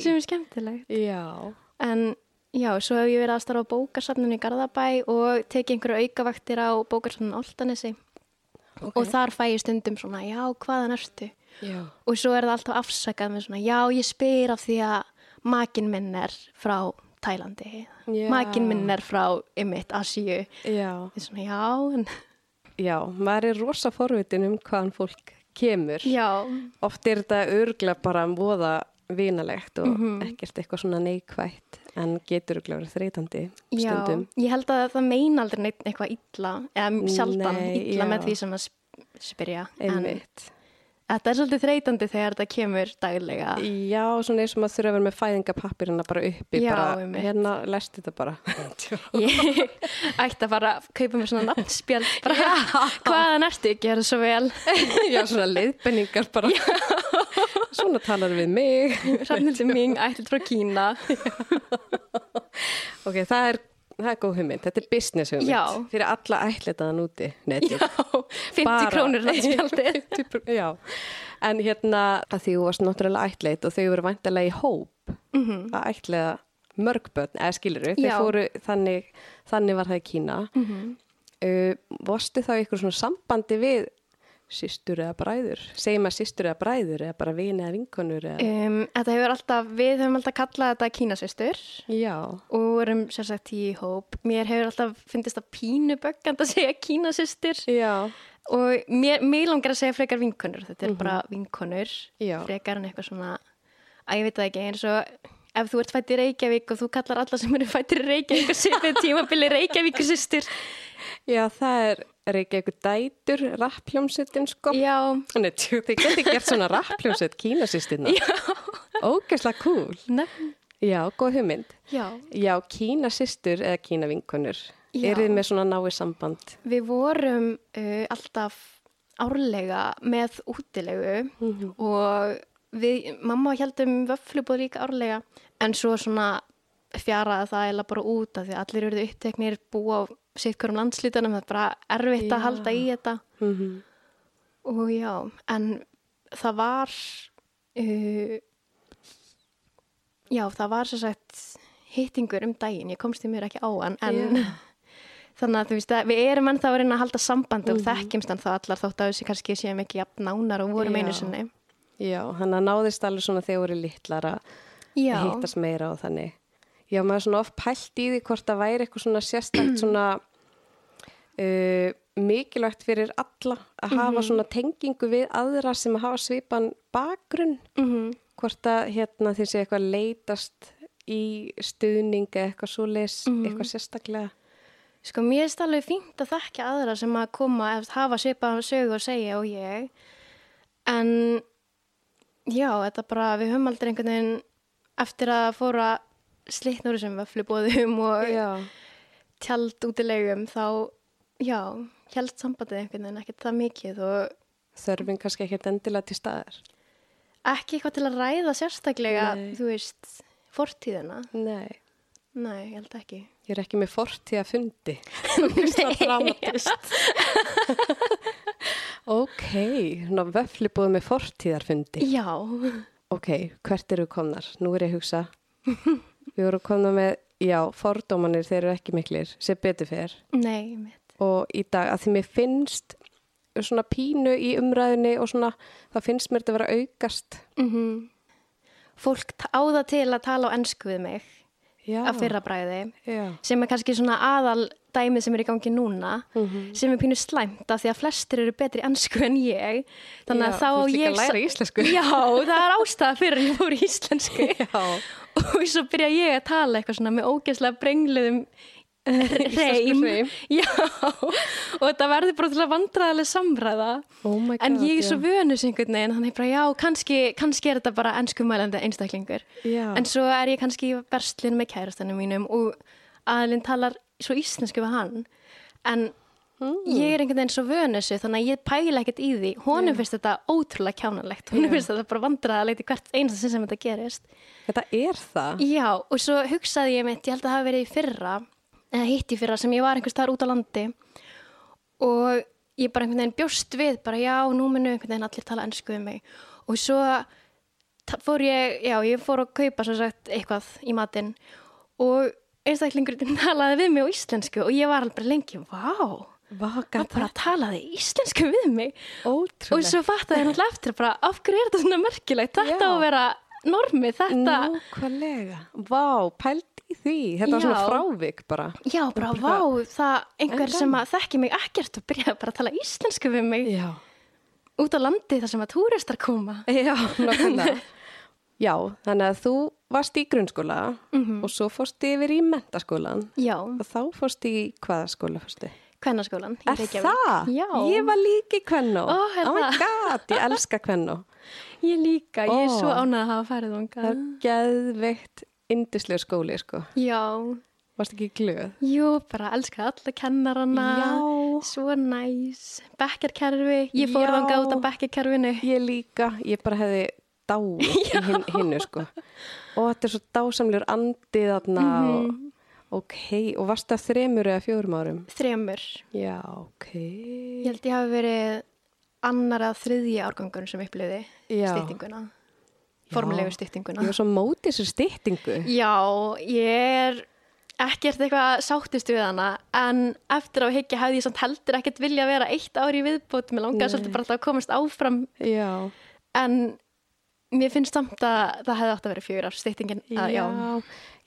S2: sem er skemmtilegt
S1: Já.
S2: En já, svo hef ég verið að starfa á bókasafninu í Garðabæ og tekið einhverju aukavaktir á bókasafninu Altanesi
S1: Ok.
S2: og þar fæ ég stundum svona, já, hvaðan ertu?
S1: Já.
S2: Og svo er það alltaf afsakað með svona, já, ég spyr af því að makin minn er frá Tælandi,
S1: Já.
S2: makin minn er frá ymmit, Asíu.
S1: Já.
S2: Ég er svona, já, en
S1: Já, maður er rosa forvitin um hvaðan fólk kemur.
S2: já,
S1: Oft er þetta örglega bara um voða vinalegt og
S2: Mhm.
S1: ekkert eitthvað svona neikvætt en getur örglega verið þreytandi
S2: já,
S1: stundum.
S2: ég held að það meina aldrei neitt eitthvað illa, eða sjaldan
S1: Nei,
S2: illa
S1: já.
S2: með því sem að sp- spyrja. en-
S1: Einmitt.
S2: Þetta er svolítið þreytandi þegar þetta kemur daglega.
S1: Já, svona eins og maður þurfa að vera með fæðingapappirina bara uppi,
S2: Já,
S1: bara
S2: einmitt.
S1: hérna, lest þetta bara.
S2: Ég ætti að fara að kaupa mér svona nafnspjald. Bara, hvaðan ertu? Gjör það svo vel.
S1: Já, svona leiðbenningar bara. svona talar við mig.
S2: Rafnildi mín, ættið frá Kína.
S1: Ok, það er, það er góð hugmynd, þetta er business hugmynd
S2: Já.
S1: fyrir alla ætlitaðan úti. Nei,
S2: Já, 50
S1: Bara-
S2: krónur nafnspjaldið.
S1: 50 pr- Já, en hérna að því þú varst náttúrulega ætleitt og þau voru vantilega í hóp að ætlega mörg börn, eða skilur þau,
S2: Mhm. Já. Mhm.
S1: fóru þannig, þannig var það í Kína. Mm varstu þá í ykkur svona sambandi við systur eða bræður? Segjum að systur eða bræður eða bara vini eða vinkonur eða...
S2: Um, þetta hefur alltaf, við höfum alltaf kallað þetta Kínasistur
S1: Já,
S2: og erum sérsagt í hóp. Mér hefur alltaf fyndist það pínu böggand að segja Kínasistur
S1: já,
S2: og mér, mér langar að segja frekar vinkonur. Þetta er bara vinkonur,
S1: Já.
S2: frekar en eitthvað svona, að ég veit það ekki, eins og ef þú ert fætt í Reykjavík og þú kallar alla sem eru fættir í Reykjavík og setið tímabili Reykjavík sýstir.
S1: já, það er reykja ykkur dætur, rappljómsettin sko.
S2: Já,
S1: Þannig, tjú, þið geti gert svona rappljómsett kínasýstina.
S2: já,
S1: Ógeðslega cool.
S2: nefn,
S1: Já, góð hugmynd.
S2: já.
S1: Já, kínasýstur eða kínavinkonur.
S2: Já.
S1: Eruð þið með svona náið samband?
S2: Við vorum uh, alltaf árlega með útilegu og við, mamma heldum vöflubóð líka árlega en svo svona fjaraði það eða bara út af því að allir eru uppteknir búa á sitt hverjum landslítanum það er bara erfitt að
S1: Já.
S2: halda í þetta
S1: Mm
S2: Mhm.
S1: -hmm.
S2: og já, en það var uh, já, það var svo sagt hittingur um daginn, ég komst því mér ekki á hann en
S1: Já.
S2: þannig að þú veist að við erum ennþá að reyna að halda sambandi
S1: Mhm.
S2: og þekkjumst en þá allar þótt að þessi kannski séum ekki jafn nánar og vorum
S1: Já.
S2: einu sinni
S1: Já, hann að náðist alveg svona þegar voru litlar að
S2: Já,
S1: að hittast meira og þannig. Já, maður svona oft pælt í því hvort það væri eitthvað svona sérstakt svona uh, mikilvægt fyrir alla að hafa svona tengingu við aðra sem hafa svipan bakgrunn
S2: mm
S1: hvort að hérna þeir sé eitthvað leitast í stuðning eða eitthvað svoleiðis, eitthvað sérstaklega.
S2: sko mér er alveg fínt að þekka aðra sem að koma eftir hafa svipaðan sögu og segja og ég en já, þetta bara, við höfum aldrei einhvern veginn eftir að fóra slitnur sem vöflubóðum og
S1: Já,
S2: tjald útilegum þá, já, held sambandið einhvern veginn ekkert það mikið og
S1: þörfin kannski ekkert endilega til staðar.
S2: ekki eitthvað til að ræða sérstaklega,
S1: Nei.
S2: þú veist, fortíðina.
S1: Nei,
S2: Nei, ég held ekki.
S1: ég er ekki með fortíða fundi.
S2: Dramatist.
S1: Ok, ná vöfli búið með fortíðarfundi.
S2: Já,
S1: ok, hvert eru komnar? Nú er ég að hugsa. Við vorum komnar með, já, fordómanir þeir eru ekki miklir, sem betur fer.
S2: nei, mitt.
S1: Og í dag, að því mér finnst svona pínu í umræðinni og svona, þá finnst mér þetta vera aukast.
S2: Mm Fólk t- á það til að tala á ennsku við mig
S1: Já.
S2: að fyrra bræði
S1: Já.
S2: sem er kannski svona aðal dæmið sem er í gangi núna
S1: Mhm.
S2: sem er pínu slæmt af því að flestir eru betri ennsku en ég þannig að
S1: Já,
S2: þá
S1: þú
S2: á
S1: ert líka
S2: ég
S1: að læra íslensku.
S2: Já, það er ástæða fyrir að ég fór í íslensku
S1: Já.
S2: og svo byrja ég að tala eitthvað svona með ógeðslega brengluðum reym.
S1: hreim.
S2: Já, og þetta verður bara til að vandræðileg samræða.
S1: Oh my
S2: en
S1: God,
S2: ég er svo
S1: já.
S2: vönus einhvern veginn, þannig bara já, kannski, kannski er þetta bara ennskumælandi einstaklingur.
S1: Já.
S2: En svo er ég kannski í verslin með kærastanum mínum og aðlinn talar svo íslensku við hann. En ég er einhvern veginn svo vönusu, þannig að ég pæla ekkert í því. Honum finnst þetta ótrúlega kjánalegt, honum finnst þetta bara vandræðilegt í hvert einasta sinn sem þetta gerist.
S1: Þetta er það.
S2: Já, og svo hugsaði ég mitt, ég held að það hafi verið í fyrra, eða hitt í fyrra sem ég var einhvers staðar út á landi og ég bara einhvern veginn bjóst við, bara já, nú munu einhvern veginn allir tala ennsku við mig og svo ta- fór ég, já, ég fór að kaupa svo sagt eitthvað í matinn og einstaklingurinn talaði við mig á íslensku og ég var alveg bara lengi, vá,
S1: Vaka
S2: hann bara talaði íslensku við mig og
S1: ótrúlega.
S2: svo fattaði ég náttúrulega eftir bara, af hverju er þetta svona merkilegt,
S1: Já.
S2: þetta á að vera normið, þetta...
S1: Nákvæmlega. Vá, pælt í því. Þetta var svona
S2: Já.
S1: frávik bara.
S2: Já, bara vá, það einhver sem að þekki mig ekkert og byrjaði bara að tala íslensku við mig
S1: Já.
S2: út á landi þar sem að túristar koma.
S1: Já, nákvæmlega. Já, þannig að þú varst í grunnskóla
S2: Mhm.
S1: og svo fórst yfir í mentaskólan
S2: Já,
S1: og þá fórst í hvaða skóla fórstu?
S2: kvennaskólan. í
S1: Er
S2: Reykjavík.
S1: það?
S2: Já,
S1: Ég var líki kvennó.
S2: Ó, er
S1: oh my
S2: það?
S1: god, ég elska kvennó.
S2: ég líka, ég er
S1: Ó.
S2: svo ánað að hafa farið
S1: Það
S2: þangað.
S1: er geðveikt indislega skóli, sko.
S2: Já,
S1: Varst ekki glöð?
S2: jú, bara elskaði alla kennarana.
S1: Já.
S2: Svo næs, bekkarkerfi, ég fór
S1: Já.
S2: þangað út á bekkarkerfinu.
S1: Ég líka, ég bara hefði dáið í hin, hinnu, sko. Og þetta er svo dásamljur andið þarna
S2: Mhm.
S1: og ok, og varst það þremur eða fjórum árum?
S2: Þremur,
S1: Já, ok.
S2: ég held ég hafi verið annar að þriðja árgangun sem upplöði
S1: Já.
S2: styttinguna, formlegu styttinguna.
S1: Ég var svo mótið þessu styttingu.
S2: Já, ég er ekkert eitthvað sáttist við hana en eftir á higgja hefði ég samt heldur ekkert vilja vera eitt ári í viðbót mér langaði svolítið bara alltaf að komast áfram
S1: Já.
S2: en mér finnst samt að það hefði átt að vera fjögur ár stýttingin að, já.
S1: Ah, Já,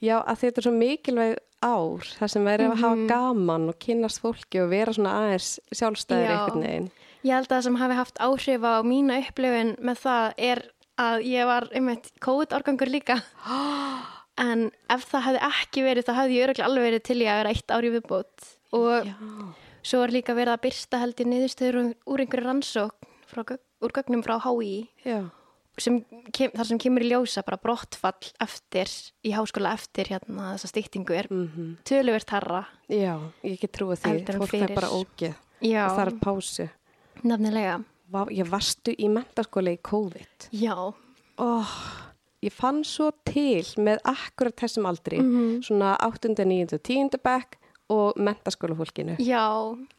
S1: já að þetta er svo mikilvæg ár, það sem verður að hafa gaman og kynnast fólki og vera svona aðeins sjálfstæður
S2: Já.
S1: einhvern veginn.
S2: Ég held að það sem hafi haft áhrif á mína upplifun með það er að ég var einmitt COVID-árgangur líka en ef það hefði ekki verið þá hefði ég öruglega alveg verið til í að vera eitt ári í viðbót og
S1: Já.
S2: Svo er líka verið að byrsta held í niðurstöður úr- úr einhverju rannsókn frá, gö- úr gögnum frá HÍ
S1: Já.
S2: sem, kem, þar sem kemur í ljósa bara brottfall eftir, í háskóla eftir hérna þessa stýttingu er
S1: Mm
S2: töluvert harra.
S1: Já, ég get trúið því.
S2: Heldur en
S1: Fólk
S2: fyrir.
S1: er bara ógeð.
S2: Já,
S1: Það er pásu.
S2: nefnilega.
S1: Vá, ég varstu í mentaskóla í COVID.
S2: Já,
S1: Oh, ég fann svo til með akkurat þessum aldri, svona 8. 9. 10. bekk og mentaskóla fólkinu,
S2: já,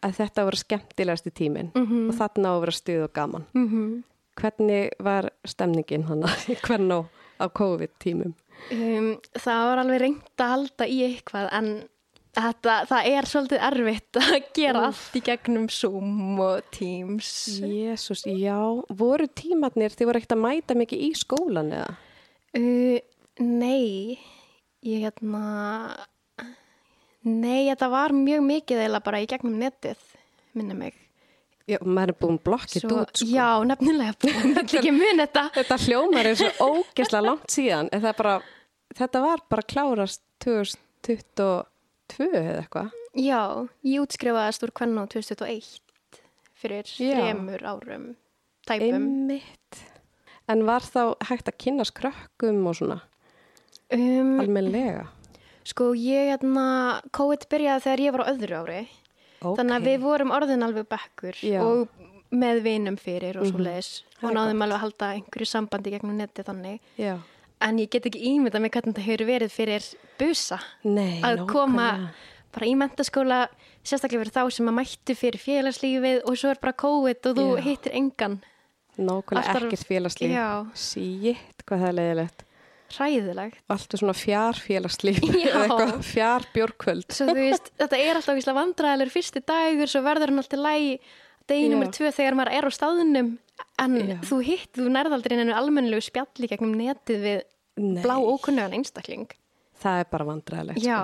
S1: að þetta voru skemmtilegasti tíminn
S2: Mhm.
S1: og þarna á að vera stuð og gaman.
S2: mm
S1: Hvernig var stemningin hana, hvernig á COVID-tímum?
S2: um, það var alveg reynd að halda í eitthvað en þetta, það er svolítið erfitt að gera allt í gegnum Zoom og Teams.
S1: Jésús, já, voru tímatnir, þið voru ekkert að mæta mikið í skólan eða?
S2: Uh, nei, ég hérna, nei, þetta var mjög mikið eða bara í gegnum netið, minna mig.
S1: Já, maður er búin blokkið
S2: Svo-
S1: út, sko.
S2: Já, nefnilega, ég vil ekki mun þetta.
S1: Þetta hljómar er svo ógesla langt síðan, en það er bara, þetta var bara klárast 2022 eða eitthvað.
S2: Já, ég útskrifaðist úr Kvenna 2021 fyrir
S1: Já.
S2: þremur árum, tæpum.
S1: Einmitt. En var þá hægt að kynast krökkum og svona,
S2: Um,
S1: almenlega?
S2: Sko ég, hérna, COVID byrjaði þegar ég var á öðru ári.
S1: Okay.
S2: Þannig að við vorum orðin alveg bekkur
S1: Já. Mhm.
S2: og með vinum fyrir og svo leiðis.
S1: Það
S2: Og
S1: er
S2: náðum alveg að halda einhverju sambandi gegnum neti þannig.
S1: Já.
S2: En ég get ekki ímyndað mig hvernig það hefur verið fyrir busa.
S1: Nei,
S2: Að koma
S1: nákvæmlega.
S2: bara í mentaskóla, sérstaklega fyrir þá sem að mættu fyrir félagslífið og svo er bara COVID og þú
S1: Já.
S2: hittir engan.
S1: Nákvæmlega
S2: Alltaf-
S1: ekkert félagslíf.
S2: Já.
S1: Sýtt, hvað það er leiðilegt.
S2: Hræðilegt.
S1: Alltaf svona fjár félagslíf.
S2: Já.
S1: fjár björkvöld.
S2: Svo þú veist, þetta er alltaf víslega vandræðilegur fyrsti dagur, svo verður hann alltaf lægi degi nummer
S1: Já.
S2: tvö þegar maður er á staðunum en
S1: Já.
S2: þú hitt, þú nærðaldri inn almennilegu spjalli gegnum netið við
S1: Nei.
S2: blá ókunnugan einstakling.
S1: Það er bara vandræðilegt.
S2: Já,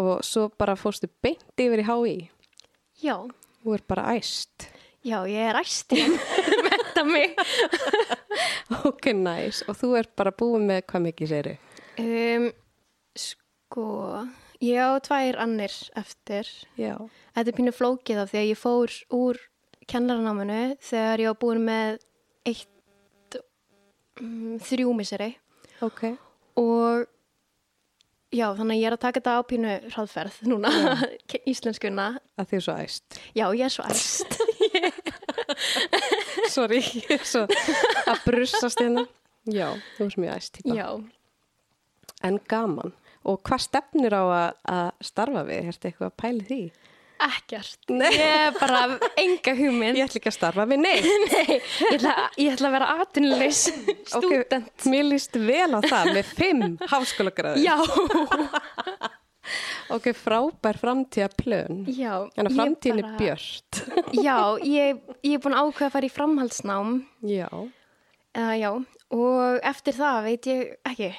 S1: Og svo bara fórstu beint yfir í HÍ.
S2: já,
S1: Þú er bara æst.
S2: já, ég er æst ég metta mig.
S1: Ok, næs. Og þú er bara búin með hvað mikið séru.
S2: Um, sko, ég á tvær annir eftir.
S1: Já.
S2: Þetta er pínu flókið af því að ég fór úr kennaranáminu þegar ég var búin með eitt, um, þrjú miseri.
S1: Ok.
S2: og já, þannig að ég er að taka þetta á pínu hraðferð núna, íslenskuna
S1: Að þið er svo æst.
S2: já, ég er svo æst
S1: Sorry, ég er svo að brusast hérna. Já, þú er mjög æst típa.
S2: já,
S1: En gaman. Og hvað stefnir á að, að starfa við? Ertu eitthvað að pæli því?
S2: ekkert ég er bara enga hugmynd
S1: Ég ætla ekki að starfa við neitt.
S2: Nei, ég ætla, ég ætla að vera atvinnulegs stúdent
S1: Okay, mér líst vel á það með fimm háskólagræði.
S2: já,
S1: Ok, frábær framtíða plön.
S2: já
S1: En að
S2: ég
S1: framtíðin
S2: bara-
S1: er björt.
S2: já, ég, ég er búin að ákveða að fara í framhaldsnám
S1: Já.
S2: uh, já, og eftir það veit ég ekki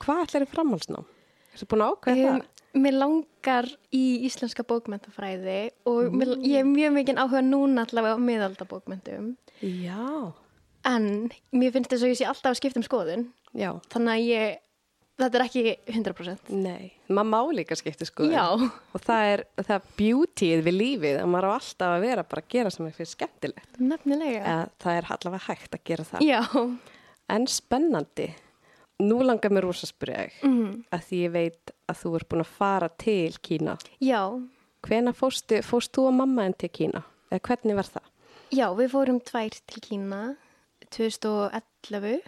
S1: Hvað ætlar þið framhalsnám? Ertu búin að ákveða
S2: Um,
S1: það?
S2: Mér langar í íslenska bókmentafræði og mér, ég er mjög mikinn áhuga núna allavega á miðaldabókmentum.
S1: Já.
S2: En mér finnst þess að ég sé alltaf að skipta um skoðun.
S1: Já.
S2: Þannig að ég, þetta er ekki 100%.
S1: Nei, maður má líka skipta skoðun.
S2: Já.
S1: Og það er það er beautyið við lífið að maður á alltaf að vera bara að gera sem er fyrir skemmtilegt.
S2: Nefnilega.
S1: Eða, það er allavega hægt að gera það.
S2: Já.
S1: En spennandi. Nú langar mér rosa að spyrja þig mm.
S2: Mhm.
S1: að því ég veit að þú er búin að fara til Kína.
S2: Já.
S1: Hvena fórstu, fórst þú og mamma en til Kína? Eða hvernig var það?
S2: Já, við fórum tvær til Kína 2011.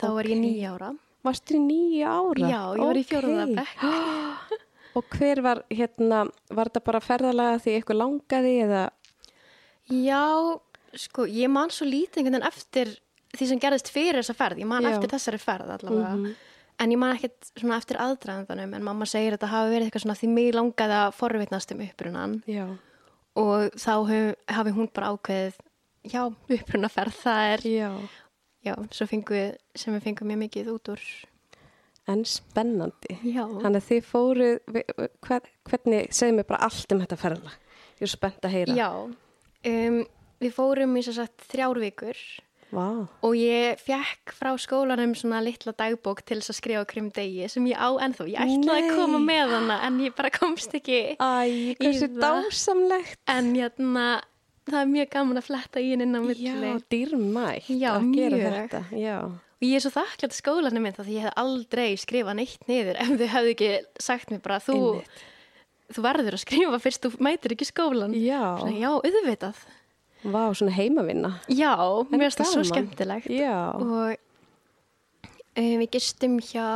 S2: Þá var ég
S1: Ok.
S2: nýja ára.
S1: Varstu í nýja ára?
S2: Já, ég var í
S1: Ókei.
S2: fjóruða bekk.
S1: Og hver var, hérna, var þetta bara ferðalega því eitthvað langaði eða?
S2: Já, sko, ég man svo lítið einhvern veginn eftir því sem gerðist fyrir þessa ferð. Ég man
S1: Já.
S2: eftir þessari ferð allavega. En ég man ekkert svona eftir aðdraðandanum en mamma segir að þetta hafi verið eitthvað svona því mig langaði að forvitnast um upprunan
S1: Já.
S2: og þá hef, hafi hún bara ákveðið já, upprunaferð, það er
S1: Já.
S2: já, svo fengum við, sem við fengum mjög mikið út úr
S1: En spennandi.
S2: Já.
S1: Þannig að þið fóruð, vi- hver, hvernig, segðu mér bara allt um þetta ferðalag. Ég er spennt að heyra.
S2: Já, um, við fórum í þess að þrjár vikur
S1: Vá,
S2: og ég fekk frá skólanum svona litla dagbók til þess að skrifa á hverjum degi sem ég á ennþá, ég ætlaði
S1: Nei.
S2: að koma með hana en ég bara komst ekki
S1: æ, hversu
S2: það.
S1: dásamlegt.
S2: en jæna, það er mjög gaman að fletta í henni inn á milli
S1: Já, dýrmætt
S2: Já,
S1: að gera
S2: mjög.
S1: þetta. Já,
S2: og ég er svo þakklátt skólanum minn það því ég hef aldrei skrifað neitt niður ef þau hefðu ekki sagt mér bara þú,
S1: einmitt.
S2: þú verður að skrifa fyrst þú mætir ekki skólan
S1: Já,
S2: Svona, já, auðvitað
S1: vá, svona heimavinna.
S2: Já, mér finnst það svo
S1: gaman.
S2: skemmtilegt
S1: Já,
S2: og um, við gistum hjá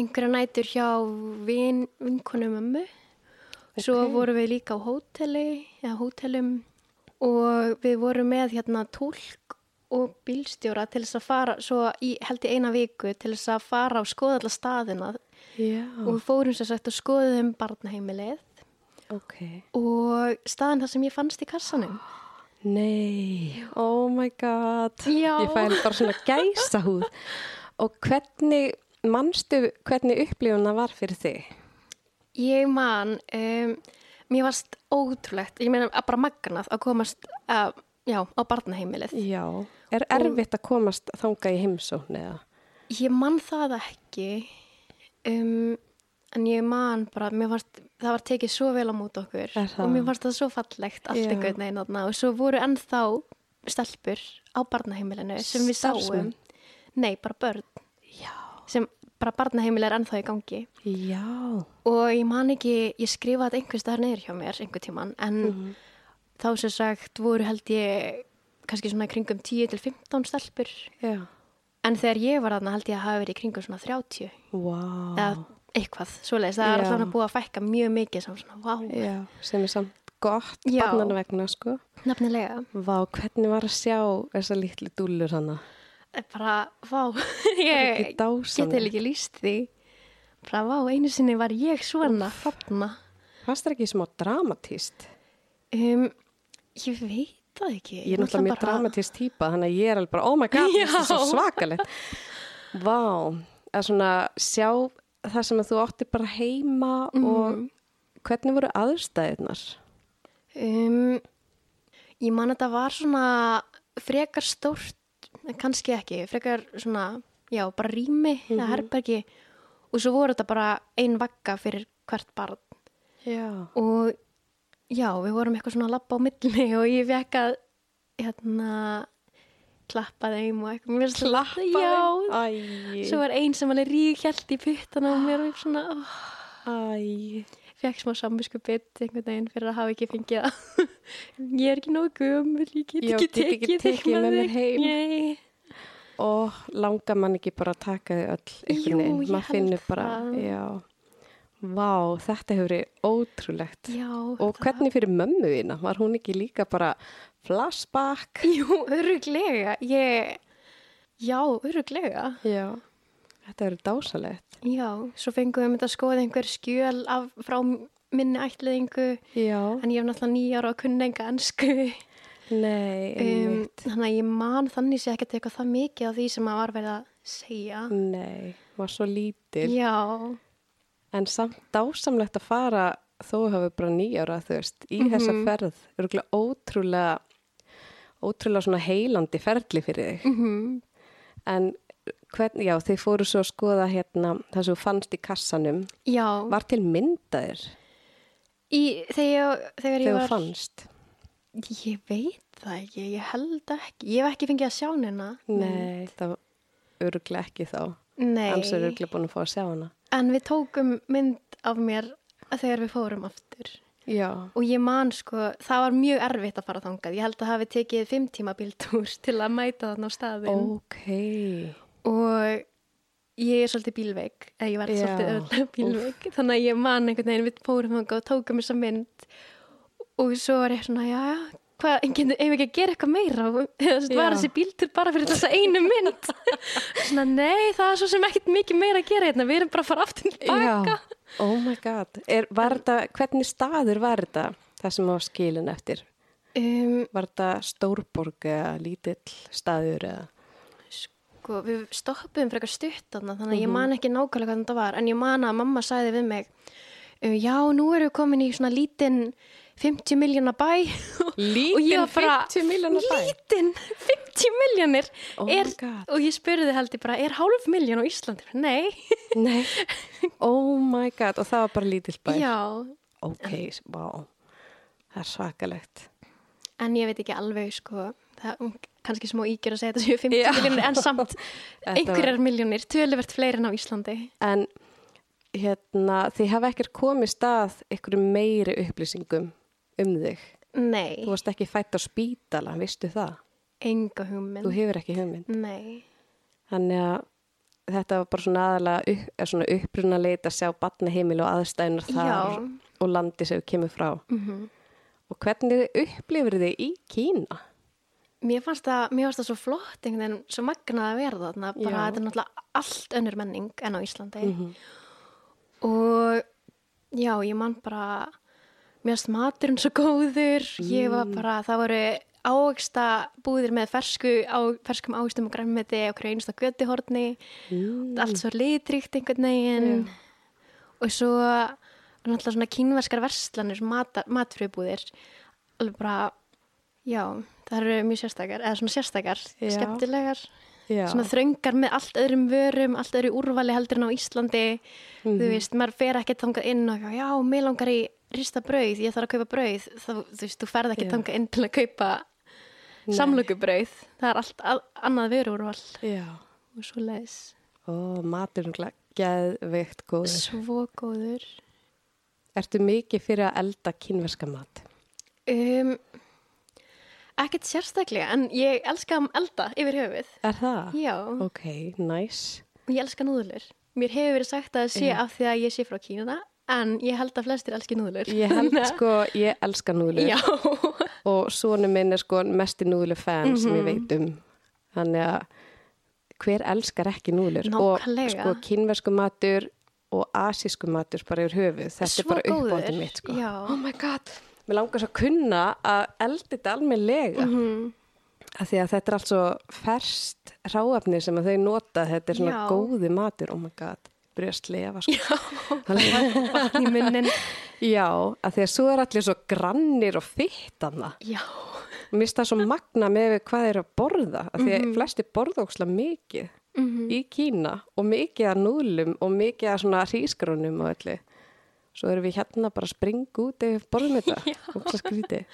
S2: einhverja nætur hjá vin, vinkonu mömmu svo
S1: Ok.
S2: vorum við líka á hóteli eða hótelum og við vorum með hérna tólk og bílstjóra til þess að fara svo í, held í eina viku til þess að fara og skoða alla staðina
S1: já,
S2: og við fórum sér sagt og skoðum barnaheimilið
S1: ok.
S2: og staðan það sem ég fannst í kassanum
S1: Nei, oh my god.
S2: Já.
S1: Ég fæði bara svona gæsa húð. Og hvernig, manstu hvernig upplifuna var fyrir þig?
S2: Ég man, um, mér varst ótrúlegt, ég meina að bara magnað að komast uh, já, á barnaheimilið.
S1: Já. Er erfitt að komast þanga í heimsókn eða?
S2: Ég man það ekki, um, en ég man bara, mér varst, það var tekið svo vel á mót okkur
S1: Er það?
S2: og mér varst það svo fallegt allt
S1: Já.
S2: einhvern veginn þarna og svo voru ennþá stelpur á barnaheimilinu sem við
S1: Starfsmenn?
S2: sáum. Nei, bara börn
S1: Já.
S2: sem bara barnaheimil er ennþá í gangi.
S1: Já.
S2: Og ég man ekki, ég skrifaði þetta einhvers staðar neyður hjá mér einhver tíman, en
S1: Mhm.
S2: þá sem sagt voru held ég kannski svona í kringum 10 til 15 stelpur,
S1: Já.
S2: en þegar ég var þarna held ég að hafa verið í kringum svona 30
S1: Vá.
S2: eða eitthvað, svoleiðis, það er
S1: Ah. Já.
S2: alltaf búið að fækka mjög mikið sem svona, vá,
S1: Já, sem er samt gott
S2: Já.
S1: barnana vegna, sko.
S2: nefnilega,
S1: Vá, hvernig var að sjá þessa litlu dúllur hana?
S2: það er Eh, bara, vá,
S1: ekki
S2: ég
S1: dásamlegt.
S2: geti ekki líst því, bara vá, einu sinni var ég svona, þarna,
S1: Fannst það ekki smá dramatíst?
S2: um, ég veit það ekki.
S1: Ég er náttúrulega mjög
S2: bara-
S1: dramatíst típa, þannig að ég er alveg bara, oh my god, þetta er svo
S2: Já.
S1: svakalegt. Vá, að svona sjá það sem að þú átti bara heima
S2: Mhm.
S1: og hvernig voru aðstæðunar?
S2: Um, ég man að þetta var svona frekar stórt, en kannski ekki, frekar svona, já, bara rými eða herbergi og svo voru þetta bara ein vagga fyrir hvert barn
S1: Já.
S2: og já, við vorum eitthvað svona að labba á milli og ég fekk að, hérna, klappa þeim og eitthvað. Mér finnst það- Já,
S1: Æ,
S2: svo var ein sem alveg ríkjælt í pyttan á mér og ég svona, ó,
S1: æ.
S2: fekk smá samvisku bit einhvern veginn fyrir að hafa ekki fengið það. ég er ekki nógu gömul, ég get
S1: Já,
S2: ekki
S1: get ekki
S2: tekið þig
S1: tekið með mér
S2: þig.
S1: heim.
S2: Nei.
S1: Og langar mann ekki bara að taka þau öll
S2: Jú,
S1: einhvern veginn.
S2: ég
S1: Maður
S2: held
S1: finnur bara,
S2: það.
S1: já. Vá, þetta hefur verið ótrúlegt.
S2: Já.
S1: Og hvernig fyrir mömmu þína? Var hún ekki líka bara flashback?
S2: Jú, öruglega. Ég, já, öruglega.
S1: Já. Þetta verið dásalegt.
S2: Já, svo fengum við mynd að skoða einhver skjöl af, frá minni ætliðingu.
S1: Já.
S2: En ég hef náttúrulega nýjára og kunna enga ennsku.
S1: Nei,
S2: Um,
S1: um,
S2: þannig að ég man þannig sé ekkert eitthvað það mikið á því sem að var verið að segja.
S1: nei, var svo lítil.
S2: Já.
S1: En samt dásamlegt að fara þó hafa bara nýjára, þú veist, í þessa ferð. Það eru ótrúlega, ótrúlega svona heilandi ferli fyrir þig.
S2: Mm
S1: Mhm.
S2: -hmm.
S1: En hvernig, já, þið fóru svo að skoða hérna það sem þú fannst í kassanum.
S2: Já.
S1: Var til myndaðir
S2: Í, þegar, ég- þegar ég
S1: þegar þú
S2: var...
S1: fannst?
S2: Ég veit það ekki, ég held ekki. Ég hef ekki fengið að sjá hana.
S1: Nei, það var öruglega ekki þá.
S2: Nei.
S1: Annars er öruglega búin að fá að sjá hana.
S2: En við tókum mynd af mér þegar við fórum aftur.
S1: Já.
S2: Og ég man sko, það var mjög erfitt að fara þangað. Ég held að hafi tekið fimm tíma bíltúr til að mæta þarna á staðin.
S1: Ok.
S2: Og ég er svolítið bílveik, eða ég var
S1: Já.
S2: svolítið öðrulega bílveik. Þannig að ég man einhvern veginn við fórum þangað og tókum þessa mynd. Og svo var ég svona, já, já, hvað, getum eigum við ekki að gera eitthvað meira? Eða þú veist, var
S1: Já.
S2: þessi bíltur bara fyrir þessa einu mynd? svona, nei, það er svo sem ekkert mikið meira að gera hérna. Við erum bara að fara aftur til baka.
S1: Já. Oh my god. Er, var þetta, hvernig staður var þetta það sem var skilin eftir?
S2: Um,
S1: Var þetta stórborg eða lítill staður eða?
S2: sko, við stoppuðum frekar stutt þarna, þannig
S1: Mhm.
S2: að ég man ekki nákvæmlega hvað þetta var, en ég man að mamma sagði við mig, um, já, nú erum við komin í svona lítinn 50 miljóna bæ og ég
S1: Lítinn
S2: var bara
S1: 50 miljónar bæ.
S2: lítinn 50 miljónir
S1: Oh my
S2: er,
S1: God.
S2: og ég spurði held ég bara er hálf miljón á Íslandi? Nei
S1: Nei. Oh my god, og það var bara lítill bæ.
S2: Já,
S1: Ok, wow. Það er svakalegt.
S2: en ég veit ekki alveg sko það kannski smá ígjör að segja þetta séu 50
S1: Já.
S2: miljónir en samt
S1: var-
S2: einhverjar miljónir, töluvert fleiri en á Íslandi
S1: En hérna, þið hafa ekkert komið stað einhverju meiri upplýsingum um þig.
S2: Nei,
S1: Þú varst ekki fætt á spítala, vistu það?
S2: enga
S1: Þú
S2: hugmynd
S1: hefur ekki hugmynd.
S2: Nei, þannig
S1: Þannig að þetta var bara svona aðalega upp, eða svona uppruna leit að sjá batnaheimil og aðstæðunar þar
S2: Já. Mhm.
S1: og landi sem þú kemur frá. Og hvernig upplifir þið í Kína?
S2: Mér fannst það, mér fannst það svo flott einhvern veginn, svo magnað að vera þarna bara
S1: Já.
S2: þetta er náttúrulega allt önnur menning en á Íslandi og já, ég man bara mér fannst maturinn svo góður ég
S1: Mm.
S2: var bara, það voru ávegsta búðir með fersku á, ferskum ávegstum og grænmeti og hverju einsta götihorni
S1: Mm.
S2: allt svo litrikt einhvern veginn og svo var náttúrulega svona kínverskar verslanir mata, matfröðbúðir alveg bara, já það eru mjög sérstakar, eða svona sérstakar
S1: Já.
S2: skemmtilegar,
S1: Já.
S2: svona þröngar með allt öðrum vörum, allt öðru úrvali heldur en á Íslandi,
S1: Mhm.
S2: þú veist maður fer ekkert þangað inn og eitthvað, já, mig langar í rista brauð, ég þarf að kaupa brauð þá, þú veist, þú ferð
S1: Já.
S2: ekkert þangað inn til að kaupa samlökubrauð það er allt að, annað vöruúrval
S1: Já.
S2: og svo leis
S1: Ó, maturinn gla- geðveikt góður.
S2: svo góður
S1: Ertu mikið fyrir að elda kínverska mat?
S2: Um, ekkert sérstaklega, en ég elska að elda yfir höfuð.
S1: Er það?
S2: Já, og
S1: Ok, nice.
S2: ég elska núðlur. Mér hefur verið sagt að það sé af því að ég sé frá Kína, en ég held að flestir elski núðlur.
S1: Ég held sko, ég elska núðlur
S2: Já,
S1: og sonu minn er sko mesti núðlu fan sem
S2: Mhm.
S1: ég veit um. Þannig að hver elskar ekki núðlur? Og
S2: Nákvæmlega.
S1: sko kínversku matur og asísku matur bara yfir höfuð. Þetta
S2: Svo
S1: er bara
S2: góður.
S1: uppbóðið mitt sko.
S2: Já.
S1: Oh my god, mér langar svo að kunna að elda þetta almennilega.
S2: Mhm.
S1: Mm Því að þetta er allt svo ferskt ráafni sem að þau nota, þetta er svona
S2: Já.
S1: góði matur, oh my god, byrja að slefa sko.
S2: já, vatn í munnin.
S1: Já, að því að svo er allir svo grannir og fytt annað.
S2: Já,
S1: Mér finnst það svo magna með við hvað þeir eru að borða. Af því að
S2: Mhm.
S1: flesti borða óksla mikið í Kína og mikið að núlum og mikið að svona hrísgrónum og öllu. Svo erum við hérna bara að springa út ef við borðum þetta. Óksla skríti.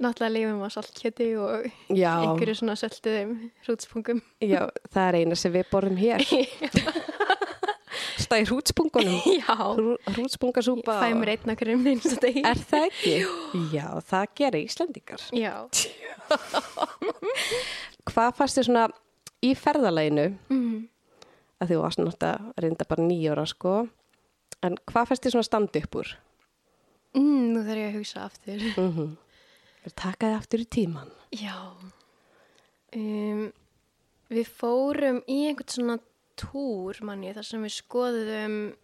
S2: náttúrulega lifum á saltkjöti og
S1: Já.
S2: einhverju svona sölduðum hrútspungum.
S1: Já, það er eina sem við borðum hér. Stæði hrútspungunum.
S2: Já,
S1: Hrú, hrútspungasúpa.
S2: fæ mér einn okkur um eins og degi.
S1: Er það ekki? Já, það gera Íslandingar.
S2: Já,
S1: hvað fannst þér svona í ferðalæginu
S2: Mhm.
S1: að því þú varst náttúrulega reynda bara nýjóra sko en hvað fannst þér svona standi upp úr
S2: mm, nú þarf ég að hugsa aftur.
S1: Mm. er takaði aftur í tíman
S2: Já. Um, við fórum í einhvern svona túr, manni, þar sem við skoðum,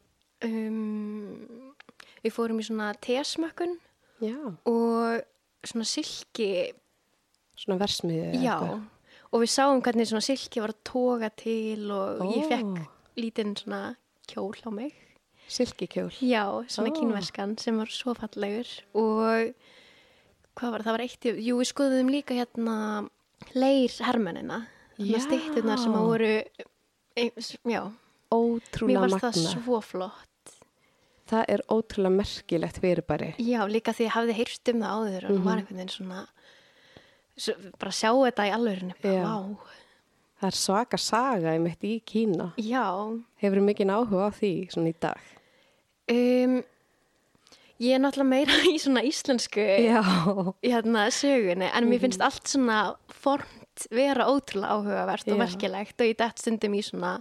S2: um, við fórum í svona tesmökkun
S1: já,
S2: og svona silki,
S1: svona versmiði eða
S2: já,
S1: eitthvað.
S2: og við sáum hvernig svona silki var að toga til og ég
S1: Ó.
S2: fekk lítinn svona kjól á mig.
S1: silkikjól
S2: Já, svona
S1: Ó.
S2: kínverskan sem var svo fallegur og hvað var það, það var eitt, í- jú við skoðum líka hérna leir hermennina,
S1: Já.
S2: svona stýttunar sem að voru, e, s- já, mér
S1: ótrúlega
S2: varst
S1: magna
S2: það
S1: það,
S2: svo flott.
S1: er ótrúlega merkilegt fyrirbæri
S2: Já, líka því ég hafði heyrst um það áður og
S1: Mhm.
S2: það var einhvern veginn svona, svo, bara sjá þetta í alvegurinu,
S1: Já.
S2: bara vá,
S1: það er svaka saga ég mitt í Kína
S2: já.
S1: hefur mikið áhuga á því svona í dag
S2: Um, ég er náttúrulega meira í svona íslensku
S1: já, Mhm.
S2: í hérna sögunni en mér finnst allt svona formt vera ótrúlega áhugavert og
S1: Já.
S2: verkilegt og ég dætt stundum í svona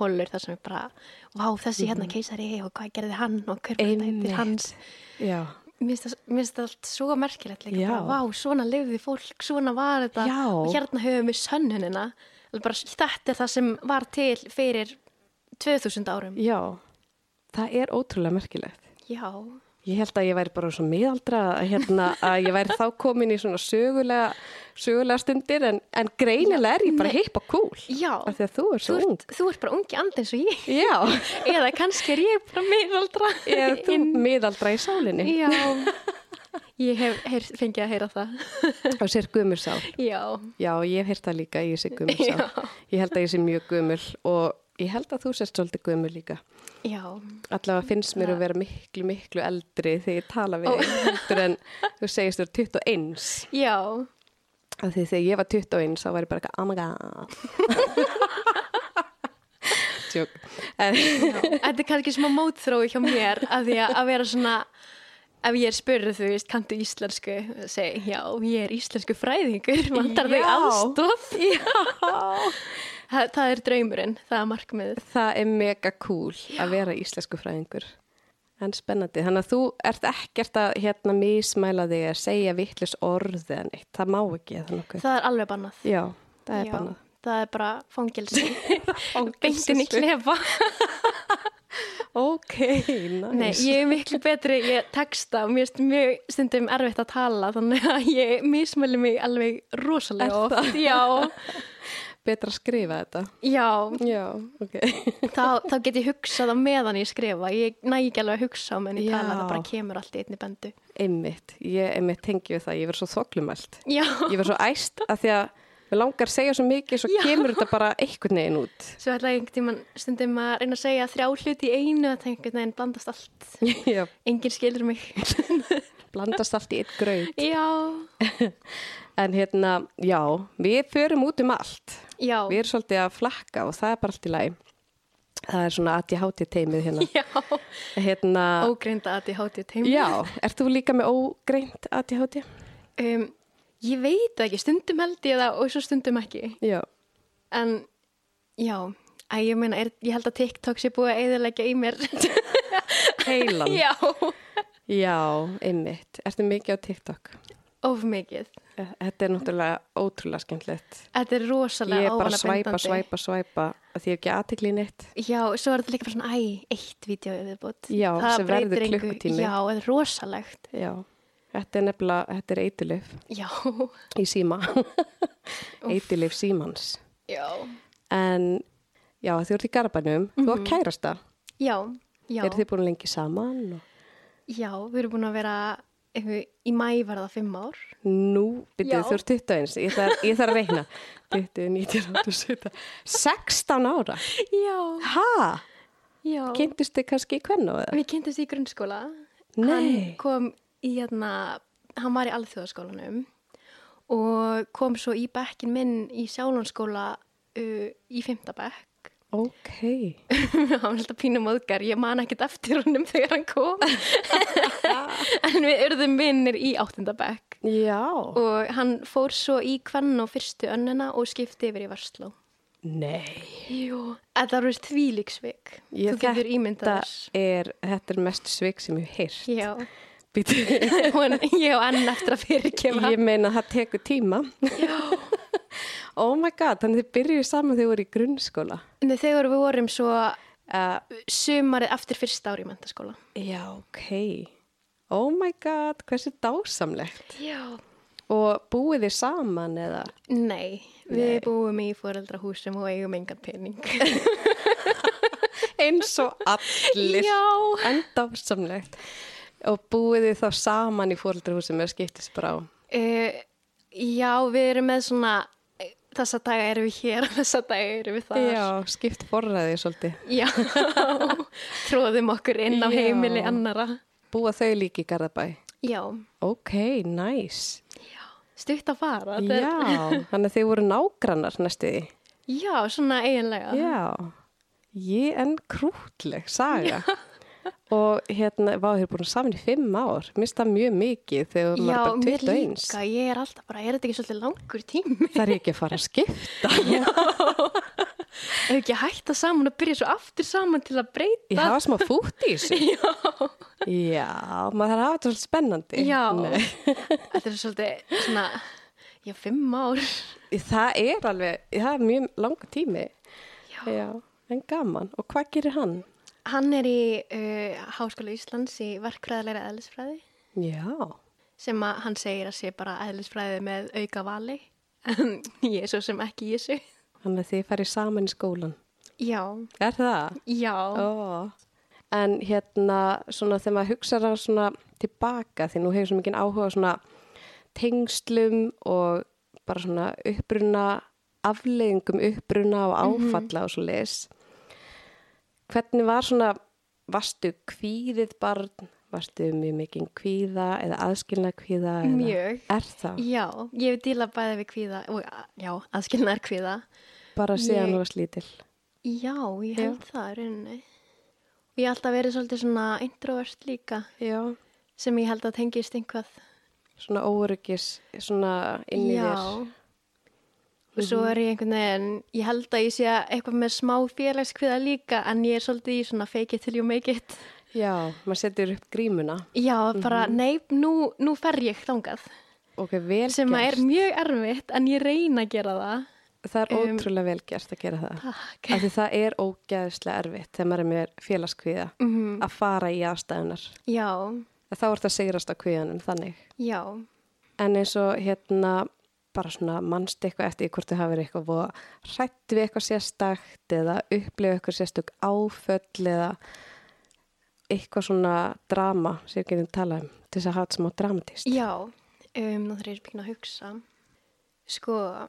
S2: holur þar sem ég bara, vá þessi hérna keisari og hvað gerði hann og hver var
S1: Mhm. Einmitt.
S2: þetta hans
S1: já,
S2: Mér finnst það- mér finnst það allt svo merkilegt líka,
S1: Já.
S2: bara vá, svona lifði fólk, svona var þetta
S1: Já.
S2: og hérna höfum við sönnunina Alveg bara, þetta er það sem var til fyrir 2000 árum
S1: já það er ótrúlega merkilegt
S2: Já,
S1: Ég held að ég væri bara svo miðaldra að, hérna, að ég væri þá komin í svona sögulega, sögulega stundir en, en greinilega er ég bara hipp og cool.
S2: já
S1: Af því að þú er
S2: þú
S1: svo ung.
S2: ert, þú ert bara ungi andi eins og ég
S1: Já,
S2: eða kannski er ég bara meðaldra
S1: eða þú miðaldra í sálinni.
S2: Já, Ég hef heyr, fengið að heyra það.
S1: á sér gumursár.
S2: Já.
S1: Já, ég hef heyrt það líka, ég sé gumursár. Ég held að ég sé mjög gumul og ég held að þú sérst svolítið gumul líka.
S2: Já.
S1: Allavega finnst mér að vera miklu, miklu eldri þegar ég tala við þig heldur en þú segist þér 21.
S2: Já.
S1: Af því þegar ég var 21 þá var ég bara eitthvað, oh my god. Tjók. En,
S2: Þetta er kannski smá mótþrói hjá mér af því að að vera svona, ef ég er spurð, þú veist, kanntu íslensku, segi, já, ég er íslensku fræðingur, vantar þau
S1: Já.
S2: aðstof. Já. Það, það er draumurinn, það er markmiðið.
S1: Það er mega cool að vera íslensku fræðingur. En spennandi. Þannig að þú ert ekkert að hérna mismæla þig að segja vittlis orð eða neitt. Það má ekki eða nokkuð.
S2: Það er alveg bannað.
S1: Já, það er
S2: Já,
S1: bannað.
S2: Það er bara fangelsi. Beintin í
S1: Fangelsisvist.
S2: klefa.
S1: Ok, nice.
S2: Nei, ég er miklu betri, ég texta og mér finnst mjög stundum erfitt að tala þannig að ég mismæli mig alveg rosalega
S1: Er
S2: oft. Já,
S1: Betra að skrifa þetta.
S2: já,
S1: Já, ok.
S2: þá, þá get ég hugsað á meðan ég skrifa. Ég næ ekki alveg að hugsa á meðan ég
S1: Já.
S2: tala, það bara kemur allt í einni bendu.
S1: Einmitt. Ég einmitt tengi við það. Ég verð svo þoklumælt.
S2: Já,
S1: Ég verð svo æst að því að við langar að segja svo mikið svo
S2: Já.
S1: kemur þetta bara einhvern veginn út.
S2: svo ætla ég einhvern tímann stundum að reyna að segja þrjá hluti í einu að það einhvern veginn blandast allt.
S1: Já,
S2: Enginn skilur mig.
S1: blandast allt í eitt gröð.
S2: já,
S1: En hérna, já, við förum út um allt.
S2: já,
S1: Við erum svolítið að flakka og það er bara allt í lagi. Það er svona aðti hátið teimið hérna.
S2: já,
S1: hérna
S2: ógreinda að ég hátu teimur.
S1: já, ert þú líka með ógreint aðti hátið?
S2: Um, ég veit það ekki, stundum held ég það og svo stundum ekki.
S1: Já.
S2: En já, að ég meina, er, ég held að TikTok sé búið að eðalegja í mér.
S1: Heilan?
S2: já,
S1: Já, einmitt. Ertu mikið á TikTok?
S2: of mikið.
S1: Þetta er náttúrulega ótrúlega skemmtilegt.
S2: Þetta er rosalega
S1: Ég er bara að
S2: ávanabindandi.
S1: svæpa, svæpa, svæpa að því ég hef ekki aðtekli neitt.
S2: Já, svo er þetta líka bara svona, æ, eitt vídeo er viðbútt.
S1: Já,
S2: Það
S1: sem verður
S2: breytir engu.
S1: klukkutími.
S2: Já, þetta er rosalegt.
S1: Já. Þetta er nefnilega, þetta er eitilif
S2: Já,
S1: í síma. eitilif símans.
S2: já,
S1: En já, þú ert í garbanum, þú ert kærasta.
S2: já, Mhm. já,
S1: Eru þið búin lengi saman? Og...
S2: já, við erum búin að vera, einhver, í mæ var það fimm ár.
S1: Nú,
S2: Já.
S1: byrjuðu þú eru 21, ég þarf, ég þarf að reyna. 20, 19, 18, 17, 16 ára.
S2: Já,
S1: Ha?
S2: já.
S1: Kynntust þið kannski í kvennu eða?
S2: Við kynntumst í grunnskóla. Hann
S1: Nei.
S2: kom í hérna, hann var í alþjóðaskólanum og kom svo í bekkin minn í sjálfanskóla uh, í fymta bekk.
S1: Ok.
S2: hann var alltaf pínum móðgar, ég man ekkert eftir honum þegar hann kom. en við urðum vinnir í áttunda bekk
S1: Já.
S2: og hann fór svo í kvann og fyrstu önnuna og skipti yfir í versló.
S1: Nei.
S2: Jú, þetta var veist þvílíksvik.
S1: Ég
S2: Þú getur ímyndað
S1: Þetta
S2: þess.
S1: er, þetta er mest svik sem ég hef heyrt.
S2: Já,
S1: Bíddu,
S2: Hún, ég á enn eftir að fyrirgefa.
S1: Ég meina það tekur tíma.
S2: Já.
S1: Oh my god, þannig þið byrjuðu saman þegar þið voru í grunnskóla.
S2: Nei, þegar við vorum svo
S1: Uh,
S2: sumarið eftir fyrst ári í mentaskóla.
S1: já, ok. Oh my god, hversu dásamlegt.
S2: Já.
S1: Og búið þið saman eða?
S2: Nei, við búum í foreldrahúsum og eigum engan pening.
S1: eins og allir
S2: Já.
S1: en dásamlegt og búið þið þá saman í fóreldrahúsum eða skiptist bara á
S2: Uh, já, við erum með svona, eh, þessa daga erum við hér og þessa daga erum við þar.
S1: já, skipt forræði svolítið
S2: Já, tróðum okkur inn á
S1: Já.
S2: heimili annara.
S1: búa þau líka í Garðabæ
S2: Já,
S1: ok, nice
S2: stutt að fara. þetta er-
S1: já, þannig að þið voru nágrannar næstuði
S2: Já, svona eiginlega.
S1: já, ég en krútleg saga og hérna, vá, þið eru búin saman í fimm ár minnst það mjög mikið þegar maður
S2: Já,
S1: er bara
S2: mér
S1: 21
S2: líka, ég er alltaf bara, er þetta ekki svolítið langur tími?
S1: það er ekki að fara að skipta
S2: Ef ekki að hætta saman og byrja svo aftur saman til að breyta
S1: Ég hafa smá fútt í þessu. Já. maður þarf að hafa þetta svolítið spennandi.
S2: Já,
S1: Nei.
S2: þetta er svolítið svona, já, fimm ár.
S1: Það er alveg, það er mjög langa tími. Já. En gaman. Og hvað gerir hann?
S2: Hann er í uh, Háskóla Íslands í verkfræðilega eðlisfræði
S1: Já.
S2: sem að hann segir að sé bara eðlisfræði með auka vali. En ég er svo sem ekki í þessu.
S1: Þannig að þið farið saman í skólan.
S2: Já,
S1: Er það?
S2: já,
S1: Ó. en hérna svona þegar maður hugsa það svona tilbaka því nú hefur svo mikið áhuga á svona tengslum og bara svona uppruna afleðingum uppruna og áfalla og svo leis hvernig var svona varstu kvíðið barn varstu mjög mikið kvíða eða aðskilna kvíða eða-
S2: Mjög.
S1: er það
S2: Já, ég hef díla bæði við kvíða og já, aðskilnaðar kvíða.
S1: bara síðan
S2: Ég-
S1: þú varst lítil
S2: Já, ég held það í rauninni. Og ég hef alltaf verið svolítið svona introvert líka
S1: já
S2: sem ég held að tengist einhvað.
S1: svona óryggis svona inn í
S2: já.
S1: þér
S2: Og svo er ég einhvern veginn, ég held að ég sé eitthvað með smá félagskviða líka en ég er svolítið í svona fake it till you make it. Mhm.
S1: já, maður setur upp grímuna
S2: Já, bara nei, nú, nú fer ég þangað
S1: ok, vel
S2: sem að er
S1: gert
S2: mjög erfitt en ég reyna að gera það.
S1: það er
S2: um,
S1: ótrúlega vel gert að gera það
S2: Takk.
S1: af því það er ógeðslega erfitt þegar maður er með félagskviða
S2: Mhm.
S1: að fara í aðstæðunar
S2: Já,
S1: þá er það sigrast á kviðanum þannig
S2: já,
S1: en eins og hérna bara svona mannst eitthvað eftir því hvort þið hafa verið eitthvað voða hrætt við eitthvað sérstakt eða upplifa eitthvað sérstök áföll eða eitthvað svona drama sem við getum talað um til þess að hafa þetta smá dramatist
S2: já. Um, nú þarf ég að byrja að hugsa. Sko,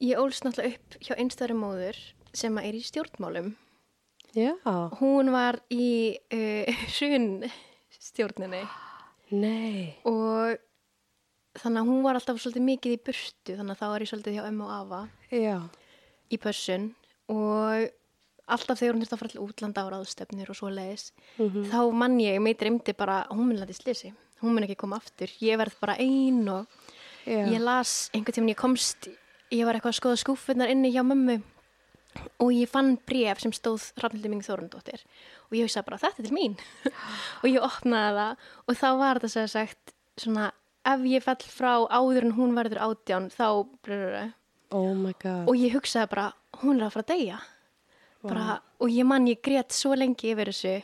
S2: ég ólst náttúrulega upp hjá einstæðri móður sem að er í stjórnmálum.
S1: Já,
S2: Hún var í uh, hrun stjórninni
S1: nei,
S2: og þannig að hún var alltaf svolítið mikið í burtu þannig að þá er ég svolítið hjá ömmu og afa.
S1: já,
S2: í pössun og alltaf þegar hún þurfti að fara til útlanda á ráðstöfnir og svo leiðis þá mann ég, mig dreymdi bara hún mun að slisi, hún mun ekki koma aftur ég verð bara ein og
S1: já.
S2: ég las einhvern tímann ég komst ég var eitthvað að skoða skúfunar inni hjá mömmu og ég fann bref sem stóð Rafnildur Ming Þórundóttir og ég hugsaði bara þetta er til mín og ég opnaði það og þá var þetta sem sagt svona ef ég fell frá áður en hún verður átján þá brr,
S1: oh my god,
S2: og ég hugsaði bara, hún er að fara að deyja bara, og ég man ég grét svo lengi yfir þessu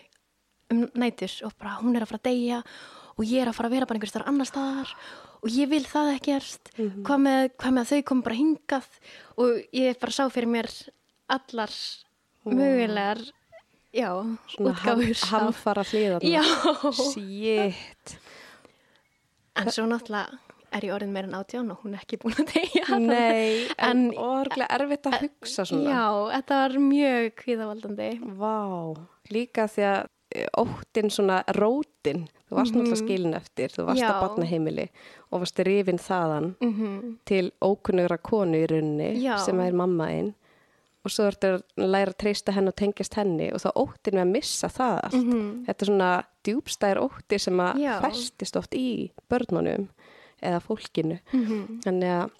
S2: um nætis og bara hún er að fara að deyja og ég er að fara að vera bara einhvers þar annar staðar og ég vil það ekkert
S1: Mhm.
S2: hvað, með, hvað með að þau kom bara hingað og ég bara sá fyrir mér allar mögulegar já,
S1: svona ham,
S2: útgáfur af-
S1: hamfara hlýðan
S2: já,
S1: Shit,
S2: en svo náttúrulega er ég orðin meir en átján og hún er ekki búin að deyja
S1: nei, en,
S2: En-
S1: en orglega erfitt að hugsa svona
S2: já, þetta var mjög kvíðavaldandi
S1: Vá, líka því að eh, óttinn svona rótin, þú varst náttúrulega skilin eftir, þú varst
S2: Mhm. Já.
S1: að batna heimili og varst rifin þaðan
S2: mhm
S1: til ókunnugra konu í runni
S2: Já.
S1: sem er mammaðinn og svo ertu að læra að treysta henn og tengjast henni og þá óttin við að missa það allt. Þetta er svona djúbstæðir ótti sem að
S2: Mhm. Já.
S1: festist oft í börnunum eða fólkinu.
S2: Mhm.
S1: -hmm. Þannig að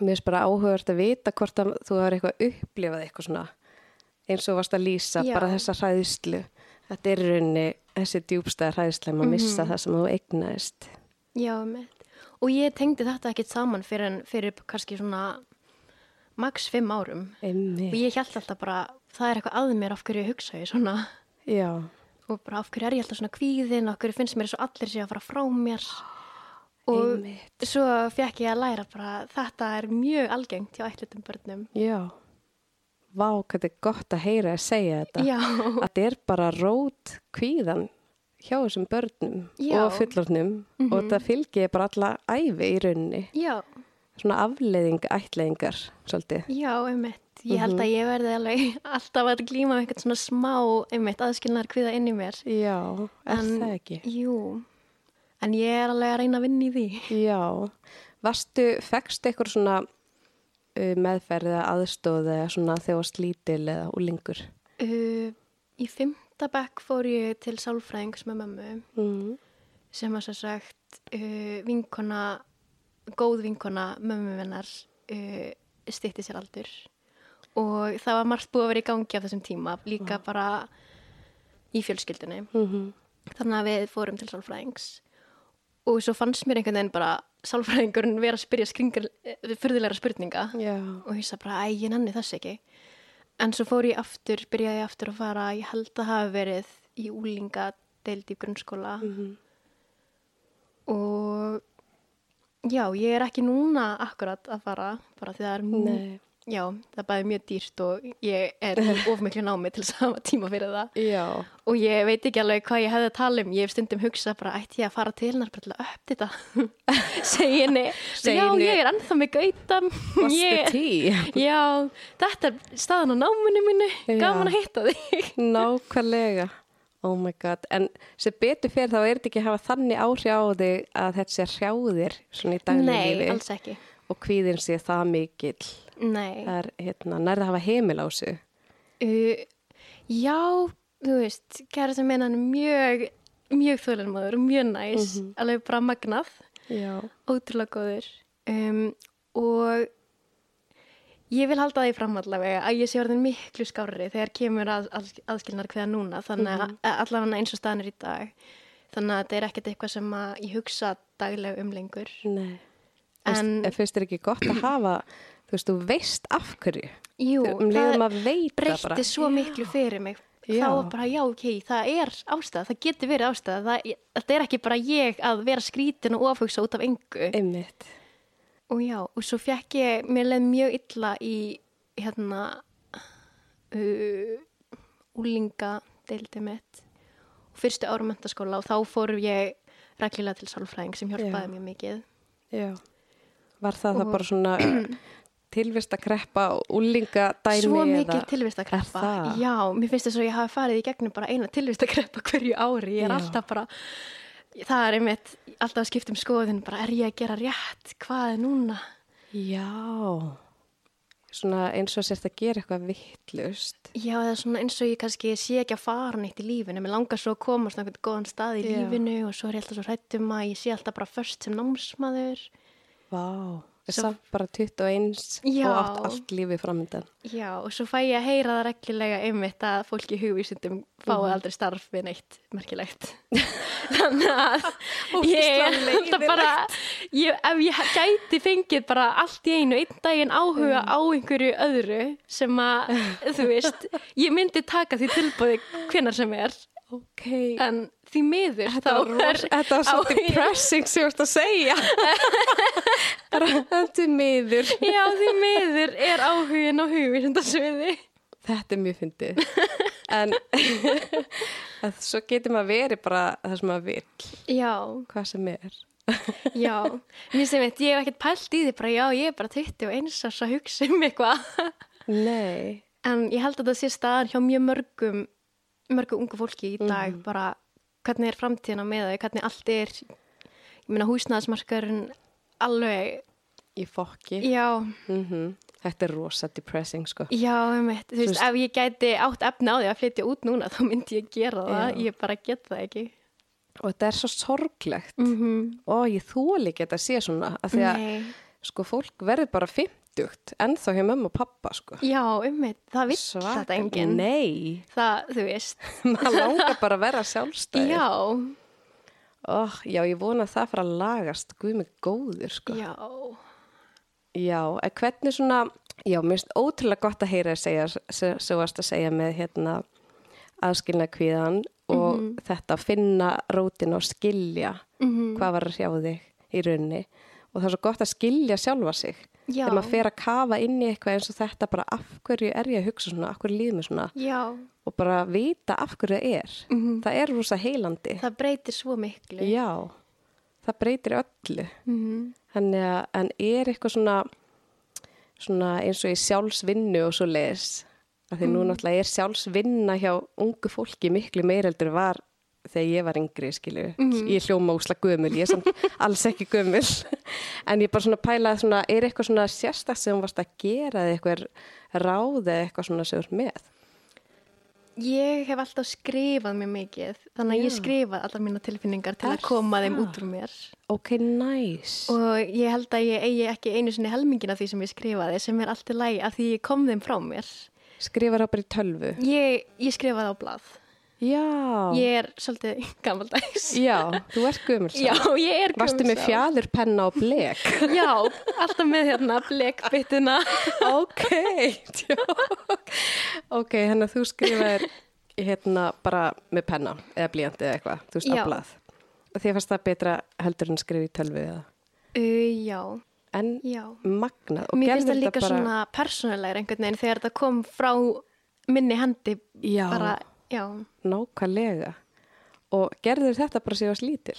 S1: mér er bara áhugavert að vita hvort að þú hefur eitthvað upplifað eitthvað svona eins og varst að lýsa
S2: Já.
S1: bara þessa hræðislu. Þetta er í rauninni þessi djúbstæðir hræðislu um að missa
S2: Mhm.
S1: það sem þú eignaðist.
S2: Já, mitt. Og ég tengdi þetta ekkert saman fyrir, en, fyrir kannski svona max fimm árum. Og
S1: Einmitt.
S2: ég held alltaf bara, það er eitthvað að mér af hverju ég hugsa ég svona.
S1: Já.
S2: Og bara af hverju er ég alltaf svona kvíðin, af hverju finnst mér svo allir sé að fara frá mér. Og
S1: Einmitt.
S2: svo fekk ég að læra bara, þetta er mjög algengt hjá ætlutum börnum.
S1: Já. Vá, hvað þetta er gott að heyra að segja þetta.
S2: Já.
S1: Að þetta er bara rót kvíðan hjá þessum börnum
S2: Já. Mhm.
S1: og fullornum og þetta fylgir bara alla æfi í rauninni.
S2: Já,
S1: Svona afleiðing, ætleiðingar, svolítið.
S2: já, einmitt. Ég held að ég verði alveg alltaf að glíma með eitthvað svona smá, einmitt, aðskilnar kvíða inn í mér.
S1: Já, er
S2: En-
S1: það ekki?
S2: Jú, en ég er alveg að reyna að vinna í því.
S1: Já. Varstu, fegstu eitthvað svona uh, meðferð eða aðstóð eða svona þegar varst lítil eða úlingur?
S2: Uh, í fymta bekk fór ég til sálfræðings með mömmu Mm-hmm.
S1: Mm.
S2: sem að svo sagt uh, vinkona, góð vinkona mömmu minnar uh, stýtti sér aldur og það var margt búið að vera í gangi á þessum tíma líka bara í fjölskyldunni
S1: Mm
S2: þannig að við fórum til sálfræðings og svo fannst mér einhvern veginn bara sálfræðingurinn vera að spyrja skringar, fyrðulegra spurninga
S1: Já.
S2: og ég sagði bara, æ, ég nenni þess ekki en svo fór ég aftur, byrjaði ég aftur að fara ég held að hafa verið í úlinga deild í grunnskóla
S1: Mhm.
S2: og já, ég er ekki núna akkurat að fara bara því það er mjög
S1: Nei.
S2: Já, það er bæði mjög dýrt og ég er í of miklu námi til sama tíma fyrir það.
S1: Já.
S2: Og ég veit ekki alveg hvað ég hefði að tala um. Ég hef stundum hugsað bara, ætti ég að fara til hennar bara til að uppdita. Segja henni,
S1: Segja
S2: já,
S1: henni-
S2: ég er ennþá með gautam.
S1: Vastu
S2: Ég,
S1: tí.
S2: já, þetta er staðan á náminu mínu.
S1: Já.
S2: Gaman að hitta þig.
S1: Nákvæmlega. Oh my god. En sem betur fyrir þá er þetta ekki að hafa þannig áhrif á þig að þetta sé hrjáðir svona í daglegu
S2: Nei,
S1: lífi
S2: alls ekki.
S1: og kvíðin sé það mikill.
S2: Nei.
S1: Það er hérna, nærða að hafa heimil á þessu.
S2: Uh, já, þú veist, kærastan minn hann er mjög, mjög þólanmaður og mjög næs,
S1: Mhm.
S2: alveg bara magnað,
S1: Já.
S2: ótrúlega góður um, og ég vil halda því fram allavega að ég sé orðin miklu skárri þegar kemur að, að, aðskilnar hveða núna, þannig að
S1: Mhm.
S2: allavega eins og staðan er í dag, þannig að þetta er ekkert eitthvað sem að ég hugsa daglega um lengur.
S1: Nei. En,
S2: En-
S1: en finnst þér ekki gott að hafa, þú veist, þú veist af hverju.
S2: Jú,
S1: um leiðum að veita
S2: breytti
S1: bara.
S2: svo miklu fyrir mig
S1: Já.
S2: þá var bara já ok, það er ástæða það getur verið ástæða, það, þetta er ekki bara ég að vera skrítin og ofhugsa út af engu
S1: Einmitt.
S2: og já, og svo fekk ég, mér leið mjög illa í hérna uh, úlinga deildi mitt og fyrstu árum mentaskóla og þá fór ég reglulega til sálfræðing sem hjálpaði
S1: Já.
S2: mjög mikið
S1: Já. Var það það bara svona tilvist að kreppa og úlinga dæmi
S2: Svo mikil
S1: eða-
S2: tilvistakreppa.
S1: Er það?
S2: Já, mér finnst þess að ég hafi farið í gegnum bara eina tilvistakreppa hverju ári. Ég er
S1: Já.
S2: alltaf bara, það er einmitt, alltaf að skipta um skoðin, bara er ég að gera rétt, hvað er núna?
S1: Já, svona eins og sérst að gera eitthvað vittlust.
S2: Já, það er svona eins og ég kannski sé ekki að fara neitt í lífinu. Mér langar svo að koma svona einhvern góðan stað í
S1: Já.
S2: lífinu og svo er ég alltaf svo hrættum að ég sé alltaf bara först sem námsmaður.
S1: Vá, er
S2: Svo-
S1: samt bara 21
S2: Já.
S1: og átt allt lífið framöndan.
S2: Já, og svo fæ ég að heyra það reglulega einmitt að fólki í hugvísundum
S1: Mhm.
S2: fái aldrei starf við neitt merkilegt. Þannig að
S1: Ógeðslega
S2: ég held að bara, ég, ef ég gæti fengið bara allt í einu, einn daginn áhuga á einhverju öðru sem að, þú veist, ég myndi taka því tilbúði hvenar sem er,
S1: Ok,
S2: en því miður
S1: þetta var,
S2: þá
S1: ros, þetta var svo
S2: áhuginn-
S1: depressing sem þú ert að segja. bara þetta er miður.
S2: Já, því miður er áhugin á hugvísundasviði.
S1: Þetta er mjög fyndið. En að svo getur maður verið bara það sem maður vill,
S2: Já.
S1: hvað sem er.
S2: Já, mér sem veit, ég hef ekkert pælt í því bara já, ég er bara 21 árs að hugsa um eitthvað.
S1: Nei,
S2: En ég held að það sé staðan hjá mjög mörgum, mörgum ungu fólki í dag
S1: Mhm.
S2: bara hvernig er framtíðina með það, hvernig allt er, ég meina húsnæðismarkarinn alveg,
S1: í fokki.
S2: já,
S1: Mm Þetta er rosa depressing sko.
S2: já, einmitt, þú veist, ef ég gæti átt efni á því að flytja út núna þá myndi ég gera það,
S1: Já.
S2: ég bara get það ekki.
S1: Og þetta er svo sorglegt.
S2: Mm -hmm.
S1: Ó, ég þóli ekki að þetta sé svona af því að
S2: Nei,
S1: sko fólk verður bara 50 ennþá hjá mömmu og pappa sko.
S2: já, einmitt, það vill þetta
S1: Svaka-
S2: enginn.
S1: Nei,
S2: Það, þú veist,
S1: maður langar bara að vera sjálfstæði.
S2: já,
S1: Ó, já, ég vona að það fara að lagast, guð mig góður sko. Já,
S2: já.
S1: en hvernig svona, já, mér finnst ótrúlega gott að heyra að segja, se- svo varst að segja með hérna aðskilna kvíðan og
S2: Mhm.
S1: þetta að finna rótin og skilja
S2: Mhm.
S1: hvað var að sjá þig í raunni og það er svo gott að skilja sjálfa sig
S2: Já.
S1: þegar maður fer að kafa inn í eitthvað eins og þetta bara af hverju er ég að hugsa svona, af hverju líður mér svona
S2: Já,
S1: og bara vita af hverju það er
S2: Mhm.
S1: það er rosa heilandi
S2: það breytir svo miklu.
S1: Já, það breytir öllu.
S2: Mhm.
S1: Þannig að, en er eitthvað svona, svona eins og í sjálfsvinnu og svo leiðis? Því nú
S2: Mm.
S1: náttúrulega er sjálfsvinna hjá ungu fólki miklu meireldur var þegar ég var yngri, skilju.
S2: Mm.
S1: Ég hljóma úsla gömul, ég er samt alls ekki gömul. en ég bara svona pælaði svona, er eitthvað svona sérstakt sem þú varst að gera eða eitthvað ráð eða eitthvað svona sem þú ert með?
S2: Ég hef alltaf skrifað mér mikið, þannig að ég skrifað allar mína tilfinningar til
S1: Er
S2: að koma þeim
S1: það?
S2: út úr mér.
S1: Ok, næs.
S2: Og ég held að ég eigi ekki einu sinni helmingin af því sem ég skrifaði, sem er allt í lagi af því ég kom þeim frá mér.
S1: Skrifar það bara í tölvu?
S2: Ég, ég skrifaði á blað.
S1: Já.
S2: Ég er svolítið gammaldags.
S1: Já, þú ert gömul.
S2: Já, ég er
S1: Varstu með
S2: gömul sál.
S1: fjæðurpenna og blek?
S2: Já, alltaf með hérna blekbyttina.
S1: ok, tjók. Ok, hann að þú skrifaðir hérna bara með penna eða blíjandi eða eitthvað, þú veist,
S2: Já.
S1: aflað. Og þér fannst það betra heldur en skrifa í tölvu eða?
S2: Uh, já,
S1: en
S2: Já.
S1: magnað og
S2: Mér
S1: gerðir
S2: finnst það
S1: þetta
S2: líka
S1: bara-
S2: svona persónulegur einhvern veginn þegar þetta kom frá minni hendi
S1: Já.
S2: bara, já.
S1: nákvæmlega og gerður þetta bara séu að slítil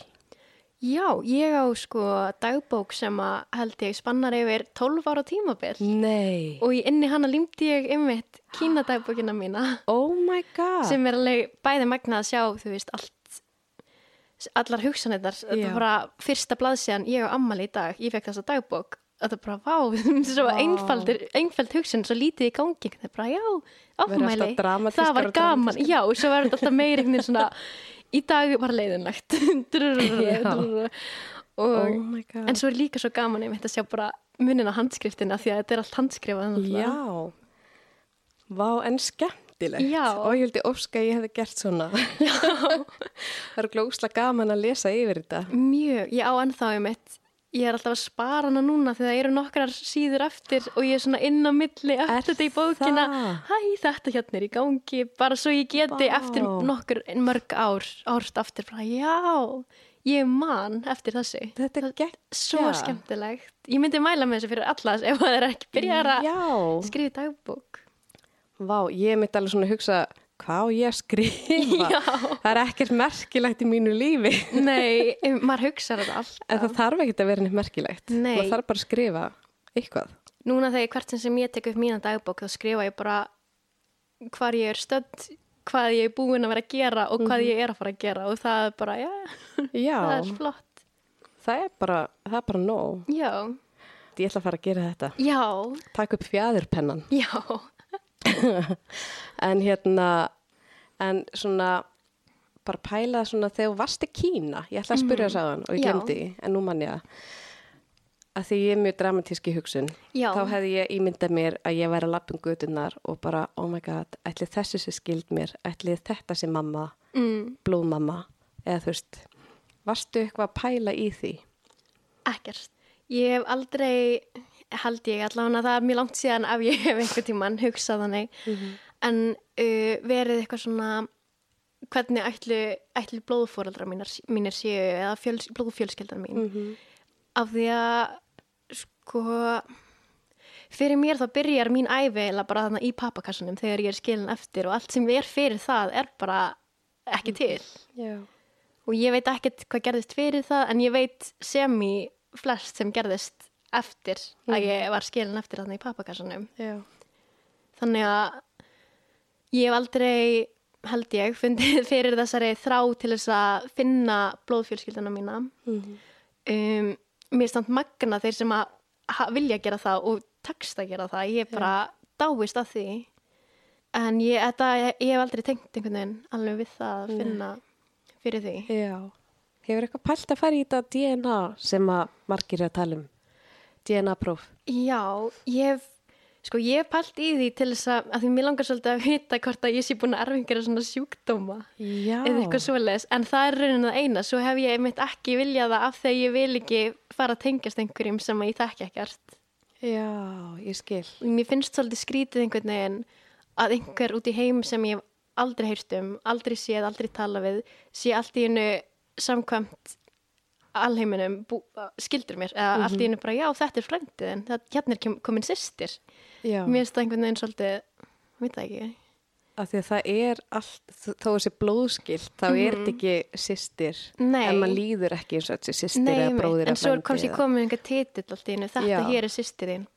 S2: Já, ég á sko dagbók sem að held ég spannar yfir 12 ára tímabil
S1: Nei
S2: og í inni hana límdi ég ymmit kína dagbókina mína
S1: Oh my god
S2: sem er alveg bæði magnað að sjá, þú veist, allt allar hugsanirnar, þetta
S1: Já.
S2: var bara fyrsta blaðsíðan ég og ammali í dag, ég fekk þessa dagbók þetta er bara vá, svo
S1: Vá.
S2: einfaldir einfald hugsun, svo lítið í gangi það er bara já,
S1: Verður alltaf
S2: afmæli það
S1: dramatískar
S2: var
S1: og
S2: gaman,
S1: dramatískar.
S2: já, og svo verður þetta alltaf meira einhvern veginn svona, í dag var leiðinlegt
S1: Já.
S2: Drrrrrrrrrrrrrrrrrrrrr.
S1: Oh
S2: og
S1: my god
S2: en svo er líka svo gaman einmitt að sjá bara munin á handskriftina því að þetta er allt handskrifað náttúrulega.
S1: Já Vá en skemmtilegt
S2: Já.
S1: Og ég vildi óska að ég hefði gert svona Já Það er glóksla gaman að lesa yfir þetta
S2: Mjög, ég á ennþá um eitt. Ég er alltaf að spara hana núna þegar það eru nokkrar síður eftir og ég er svona inn á milli eftir þetta í bókina.
S1: það?
S2: Hæ, þetta hérna er í gangi, bara svo ég geti
S1: Vá.
S2: eftir nokkur mörg ár, árst aftur, bara já, ég man eftir þessu.
S1: Þetta er gegn
S2: Svo skemmtilegt. Ég myndi mæla með þessu fyrir allas ef það er ekki byrjar að
S1: Já
S2: skrifa í dagbók.
S1: Vá, ég mitt alveg svona að hugsa hvað á ég að skrifa.
S2: Já.
S1: Það er ekkert merkilegt í mínu lífi.
S2: Nei, em, maður um hugsa þetta alltaf.
S1: En það þarf ekkert að vera neitt merkilegt.
S2: Nei.
S1: Það þarf bara að skrifa eitthvað.
S2: Núna þegar hvert sinn sem ég tek upp mína dagbók þá skrifa ég bara hvar ég er stödd, hvað ég er búin að vera að gera og hvað ég er að fara að gera og það er bara, já,
S1: Já,
S2: það er flott.
S1: það er bara, það er bara nóg.
S2: Já,
S1: Ég ætla að fara að gera þetta.
S2: já,
S1: Takk upp fjæðurpennan.
S2: já,
S1: En hérna, en svona, bara pæla svona þegar þú varst í Kína. Ég ætla að spyrja þess að hann og ég
S2: Já.
S1: glemdi því, en nú mann ég að. Að því ég er mjög dramatíski hugsun.
S2: já,
S1: þá hefði ég ímyndað mér að ég væri að lappa um gödunar og bara, oh my god, ætli þessu sé skild mér, ætli þetta sé mamma,
S2: mm,
S1: blóðmamma, eða þú veist, varstu eitthvað að pæla í því?
S2: ekkert. Ég hef aldrei, held ég allavega, það er mjög langt síðan ef ég hef einhvern tíman hugsað þannig, en uh, verið eitthvað svona, hvernig ætlu, ætlu blóðfóreldrar mínir, mínir séu eða fjöls, blóðfjölskeldar mín.
S1: -hmm.
S2: af því að sko fyrir mér þá byrjar mín æfi eiginlega bara þarna í pappakassunum þegar ég er skilin eftir og allt sem er fyrir það er bara ekki til
S1: Já.
S2: og ég veit ekkert hvað gerðist fyrir það en ég veit sem í flest sem gerðist eftir að ég var skilin eftir þarna í pappakassunum
S1: Já.
S2: þannig að ég hef aldrei held ég fundið fyrir þessari þrá til þess að finna blóðfjölskylduna mína um, mér er samt magna þeir sem að ha- vilja gera það og takst að gera það ég er bara dáist að því en ég, þetta, ég, ég hef aldrei tengt einhvern veginn alveg við það að finna fyrir því
S1: Já. Hefur eitthvað pælt að fara í þetta DNA sem að margir er að tala um? DNA-próf.
S2: já, ég hef sko ég hef pælt í því til þess að, að því mér langar svolítið að vita hvort að ég sé búin að erfa einhverja svona sjúkdóma
S1: Já.
S2: eða eitthvað svoleiðis, en það er raunin að eina svo hef ég einmitt ekki viljað það af því að ég vil ekki fara að tengjast einhverjum sem að ég þekki ekkert
S1: Já, ég skil.
S2: mér finnst svolítið skrítið einhvern veginn að einhver út í heim sem ég hef aldrei heyrt um, aldrei séð, aldrei tala við sé allt í hennu samkvæmt alheiminum bú, skildur mér, eða allt í hennu bara já, þetta er frændiðin, þetta- hérna er kem- komin sýstir
S1: Já.
S2: mér finnst það einhvern veginn svolítið veit það ekki,
S1: Af því að það er allt, þó þessi blóðskilt, þá er þetta ekki sýstir.
S2: Mhm. Nei.
S1: En maður líður ekki eins og þetta sé sýstir
S2: Nei,
S1: eða
S2: einmitt.
S1: bróðir eða
S2: en svo er komst
S1: frændi
S2: ég
S1: eða-
S2: komið einhver titill allt í hennu, þetta
S1: Já.
S2: hér er sýstir þín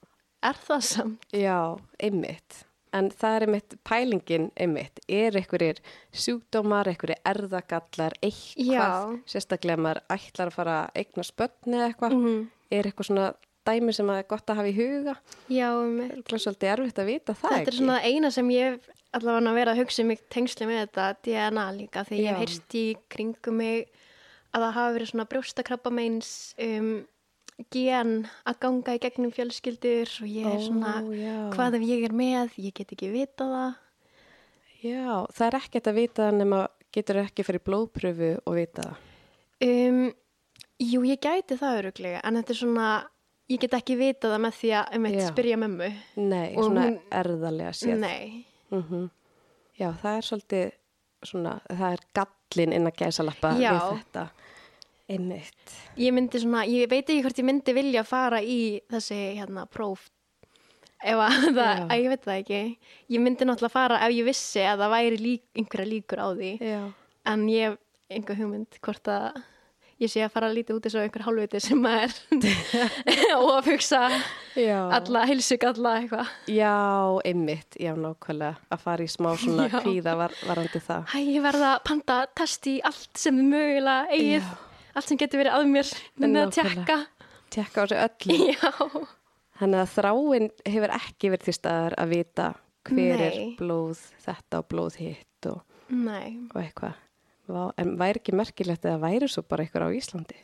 S2: er það samt?
S1: Já, einmitt. En það er einmitt, pælingin einmitt, er einhverjir sjúkdómar, einhverjir erðagallar, eitthvað,
S2: Já.
S1: sérstaklega ef maður ætlar að fara að eigna spötni eða eitthvað,
S2: Mhm.
S1: er eitthvað svona dæmi sem að er gott að hafa í huga.
S2: Já, um,
S1: Það er svolítið erfitt að vita það
S2: þetta er
S1: ekki.
S2: svona það eina sem ég hef allavega að vera að hugsa um mig tengsli með þetta DNA líka því
S1: Já.
S2: ég heyrst í kringum mig að það hafa verið svona brjóstakrabba meins um, gen að ganga í gegnum fjölskyldur og ég er svona
S1: Ó, já.
S2: hvað ef ég er með, ég get ekki vita það
S1: Já, það er ekkert að vita það nema getur ekki fyrir blóðpröfu og vita það.
S2: um, Jú, ég gæti það öruglega en þetta er svona, ég get ekki vita það með því að um eitt
S1: Já.
S2: spyrja mömmu
S1: Nei,
S2: Og
S1: svona
S2: hún-
S1: erðalega séð. Mhm.
S2: Nei,
S1: Já, það er svolítið svona, það er gallin inn að gæsa lappa
S2: Já.
S1: við þetta. einmitt.
S2: Ég myndi svona, ég veit ekki hvort ég myndi vilja fara í þessi hérna próf ef að það, að ég veit það ekki ég myndi náttúrulega fara ef ég vissi að það væri lík, einhverja líkur á því
S1: Já.
S2: en ég hef einhver hugmynd hvort að ég sé að fara að lítið út eins og einhver hálfviti sem að er og að hugsa
S1: Já.
S2: alla, heilsug alla eitthvað
S1: Já, einmitt, já, nákvæmlega að fara í smá svona
S2: Já.
S1: kvíða var, varandi það.
S2: Æ, ég verða að panta test í allt sem er mögulega eigið
S1: Já.
S2: allt sem getur verið að mér með að
S1: Nákvæmlega.
S2: tjekka
S1: Tjekka á sig öllu.
S2: Já,
S1: Þannig að þráin hefur ekki verið til staðar að vita hver er
S2: Nei.
S1: blóð þetta og blóð hitt og,
S2: nei
S1: og eitthvað. Vá, en væri ekki merkilegt eða væri svo bara eitthvað á Íslandi?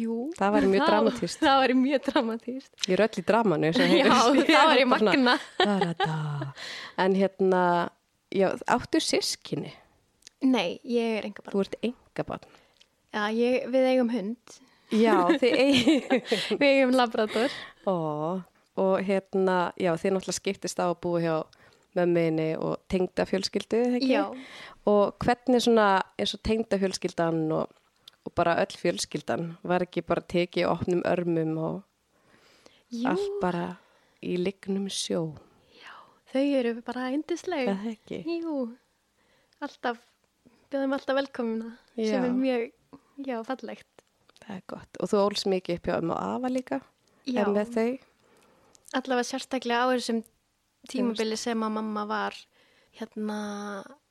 S2: Jú.
S1: Það væri mjög dramatískt.
S2: Það væri mjög dramatíst.
S1: Ég er öll í dramanu. eins og
S2: Já,
S1: heyrist.
S2: það væri
S1: Bara svona,
S2: magna.
S1: da-ra-da. En hérna, já, áttu sískinni?
S2: Nei, ég er enga barn.
S1: Þú ert engabann.
S2: Já, ég, við eigum hund.
S1: Já, þið eigin.
S2: Við eigum labrador.
S1: Ó, og hérna, já, þið náttúrulega skiptist á að búa hjá mömminni og tengda fjölskyldu, ekki?
S2: Já.
S1: Og hvernig svona, eins og tengda fjölskyldan og, og bara öll fjölskyldan, var ekki bara tekið opnum örmum og
S2: Jú,
S1: allt bara í lignum sjó,
S2: já, þau eru bara
S1: eða
S2: yndisleg.
S1: það ekki?
S2: Jú, alltaf, bjóðum alltaf velkomina.
S1: Já.
S2: Sem er mjög, já, fallegt.
S1: Það er gott. Og þú óls mikið upp hjá um og afa líka,
S2: Já,
S1: en með þau?
S2: allavega sérstaklega á þessum tímabili sem að mamma var hérna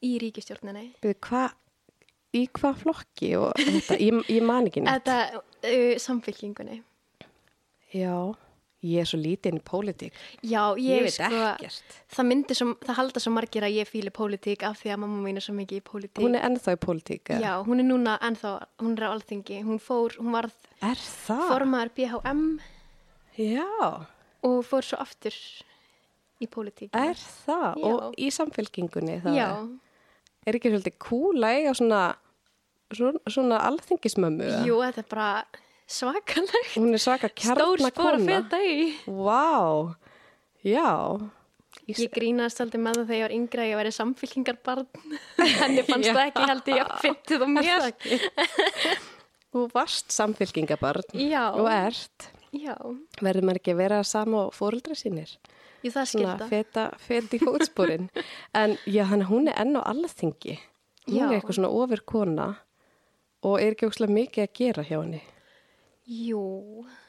S2: í ríkistjórninni.
S1: Við hvað, í hvað flokki og þetta, ég, ég man ekki neitt.
S2: Þetta uh, samfélkingunni.
S1: Já, ég er svo lítið inn í pólitík.
S2: Já, ég,
S1: Ég veit
S2: sko,
S1: ekkert.
S2: það myndi sem, það halda svo margir að ég fíli pólitík af því að mamma mín er svo mikið í pólitík.
S1: Hún er ennþá í pólitík, eða?
S2: Já, hún er núna ennþá, hún er á alþingi, hún fór, hún varð
S1: Er það?
S2: formaður BHM
S1: Já,
S2: og fór svo aftur í pólitík.
S1: er það?
S2: Já.
S1: Og í samfélkingunni það?
S2: Já,
S1: Er ekki svolítið cool að eiga svona, svona, svona alþingismömmu? eða?
S2: jú, þetta er bara svakalegt,
S1: Hún er svaka
S2: stór
S1: kjarnakona.
S2: spór að feta í.
S1: Vá, wow. já. Ís-
S2: Ég grínaðist aldrei með það þegar ég var yngra að ég væri samfélkingarbarn, henni fannst það ekki held ég að fyndið og mér.
S1: Þú varst samfélkingabarn
S2: Já,
S1: og ert.
S2: já,
S1: Verður maður ekki að vera sama og fóruldra sínir?
S2: jú, það
S1: Svona
S2: skilta.
S1: feta, feta í fótsporin. en já, þannig að hún er enn á alþingi. Hún
S2: Já.
S1: er eitthvað svona ofur kona og er ekki ókslega mikið að gera hjá henni.
S2: Jú,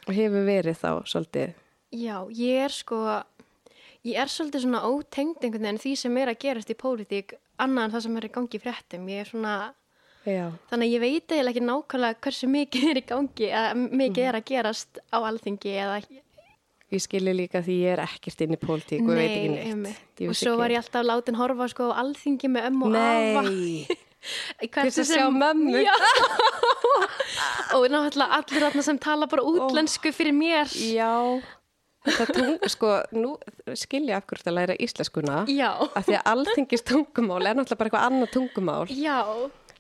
S1: Og hefur verið þá svolítið.
S2: Já, ég er sko, ég er svolítið svona ótengd einhvern veginn því sem er að gerast í pólitík annað en það sem er í gangi í fréttum. Ég er svona,
S1: Já,
S2: þannig að ég veit eiginlega ekki nákvæmlega hversu mikið er í gangi, eða mikið er að gerast á alþingi eða...
S1: ég skilji líka því ég er ekkert inn í pólitík og ég veit ekki neitt.
S2: einmitt. Og svo var ég alltaf látin horfa sko á alþingi með ömmu og afa.
S1: Nei,
S2: Nei,
S1: til þess að sjá mömmu.
S2: Já. og náttúrulega allir þarna sem tala bara útlensku fyrir mér.
S1: Já, þetta tung, sko, nú skilja af hverju þetta læra íslenskuna.
S2: Já.
S1: Af því að alltingis tungumál er náttúrulega bara eitthvað annað tungumál.
S2: Já.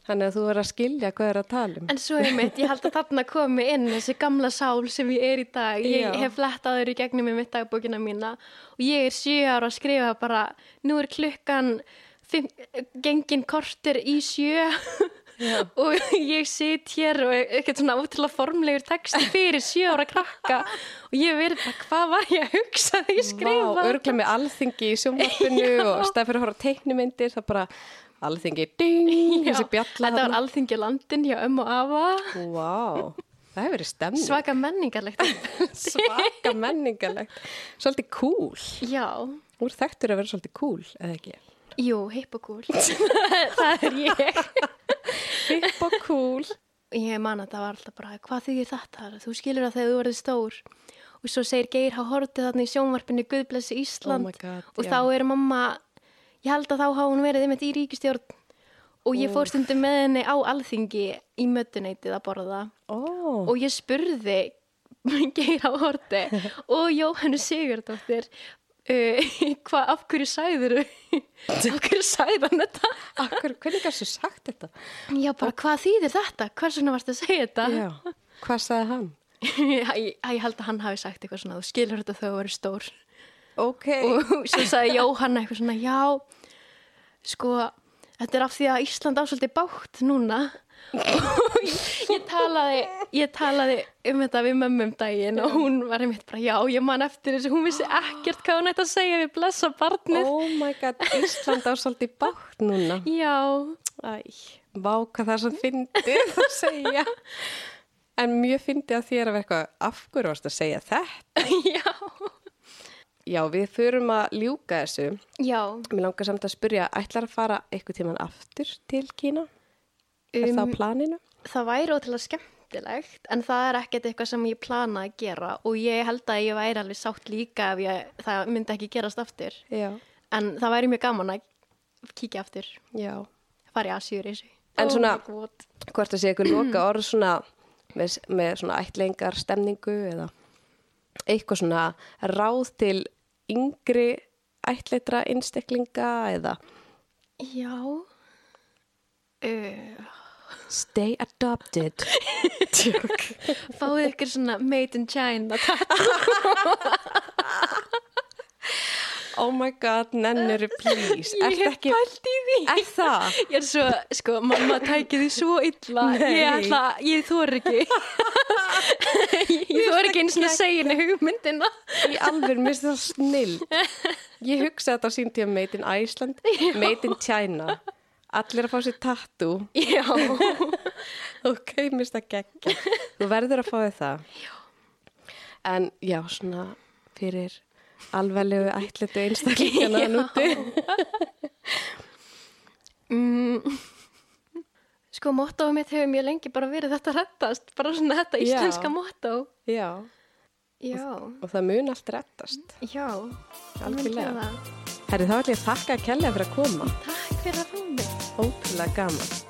S1: Þannig að þú verður að skilja hvað er að tala um.
S2: En svo er mitt, ég held að þarna komi inn þessi gamla sál sem ég er í dag. Ég
S1: Já.
S2: hef flettað þurr í gegnum í mitt dagbókina mína og ég er sjö ára að skrifa bara, nú er klukkan fimm, gengin kortir í sjö og ég sit hér og ekkert svona útrúlega formlegur text fyrir sjö ára krakka og ég verið bara, hvað var ég að hugsa þegar ég skrifa?
S1: Vá, örgla með alþingi í sjónvarpinu og stað fyrir að horfa á teiknumyndir, það bara alþingi, ding, þessi bjalla.
S2: Þetta var
S1: þarna.
S2: alþingi landin hjá ömmu og afa.
S1: Vá, það hefur verið stemning.
S2: Svaka menningarlegt.
S1: svaka menningalegt svolítið cool
S2: Já.
S1: úr þekktur að vera svolítið cool eða ekki
S2: Jú, hipp og cool. það er ég.
S1: hipp og cool
S2: Ég man að það var alltaf bara, hvað þýðir þetta? Þú skilur það þegar þú verður stór. Og svo segir Geir, há hortið þarna í sjónvarpinu Guðblessi Ísland.
S1: Oh my God,
S2: og
S1: já.
S2: þá er mamma, ég held að þá hafa hún verið einmitt í ríkistjórn. Og ég
S1: Oh.
S2: fór stundum með henni á alþingi í mötuneytið að borða.
S1: oh,
S2: Og ég spurði Geir á horti og Jóhannu Sigurdóttir, uh, hvað, af hverju sæðir þú? af hverju sæðan þetta?
S1: akkur, hvernig gæstu sagt þetta
S2: Já, bara hvað þýðir þetta? Hvers vegna varst að segja þetta?
S1: já, hvað sagði hann
S2: Æ, æ, ég held að hann hafi sagt eitthvað svona, þú skilur þetta þegar þú verður stór.
S1: ok,
S2: Og svo sagði Jóhanna eitthvað svona, já, sko, þetta er af því að Ísland ásöldi bátt núna. og ég talaði, ég talaði um þetta við mömmu um daginn og hún var einmitt bara, já, ég man eftir þessu, hún vissi ekkert hvað hún ætti að segja við blessa barnið.
S1: Oh my god, Ísland á svolítið bátt núna.
S2: Já, æ,
S1: Vá, hvað það er svo fyndið að segja. En mjög fyndið að þér að vera eitthvað, af hverju varst að segja þetta?
S2: já,
S1: Já, við þurfum að ljúka þessu.
S2: já.
S1: Mér langar samt að spyrja, ætlar að fara eitthvað tíman aftur til Kína? er
S2: Um,
S1: það á planinu?
S2: Það væri ótrúlega skemmtilegt en það er ekkert eitthvað sem ég plana að gera og ég held að ég væri alveg sátt líka ef ég, það myndi ekki gerast aftur
S1: Já.
S2: en það væri mjög gaman að kíkja aftur
S1: Já.
S2: fara í Asjur í þessu
S1: En svona-
S2: Oh my god.
S1: Hvort að sé eitthvað loka orð svona með, með svona ætlengar stemningu eða eitthvað svona ráð til yngri ætleitra innsteklinga eða
S2: Já uh,
S1: stay adopted. Tjók.
S2: Fáðu ykkur svona made in China tatt
S1: Oh my god, nennuru please.
S2: Ég
S1: Ertu
S2: hef
S1: ekki...
S2: pælt í því
S1: Er það?
S2: Ég er svo, sko, mamma tækið því svo illa
S1: Nei.
S2: Ég ætla, ég þor ekki Ég þor ekki eins og að segja henni hugmyndina
S1: Í alveg minnst það snill. Ég hugsaði þetta á sín tíma made in Iceland, made in China. Allir að fá sér tattoo.
S2: Já,
S1: Ok, minnst það geggja. Þú verður að fá þér það. Já. En já, svona fyrir alveglegu ætlitu einstaklingana
S2: Já.
S1: núti.
S2: sko mottóið mitt hefur mjög lengi bara verið þetta rettast, bara svona þetta
S1: Já.
S2: íslenska mottó.
S1: Já,
S2: Já,
S1: og það mun allt rettast.
S2: já,
S1: Algjörlega.
S2: Mun gera það.
S1: Herri, þá ætlum ég að þakka að kella fyrir að koma.
S2: Takk fyrir að fá mig.
S1: Ótrúlega gaman.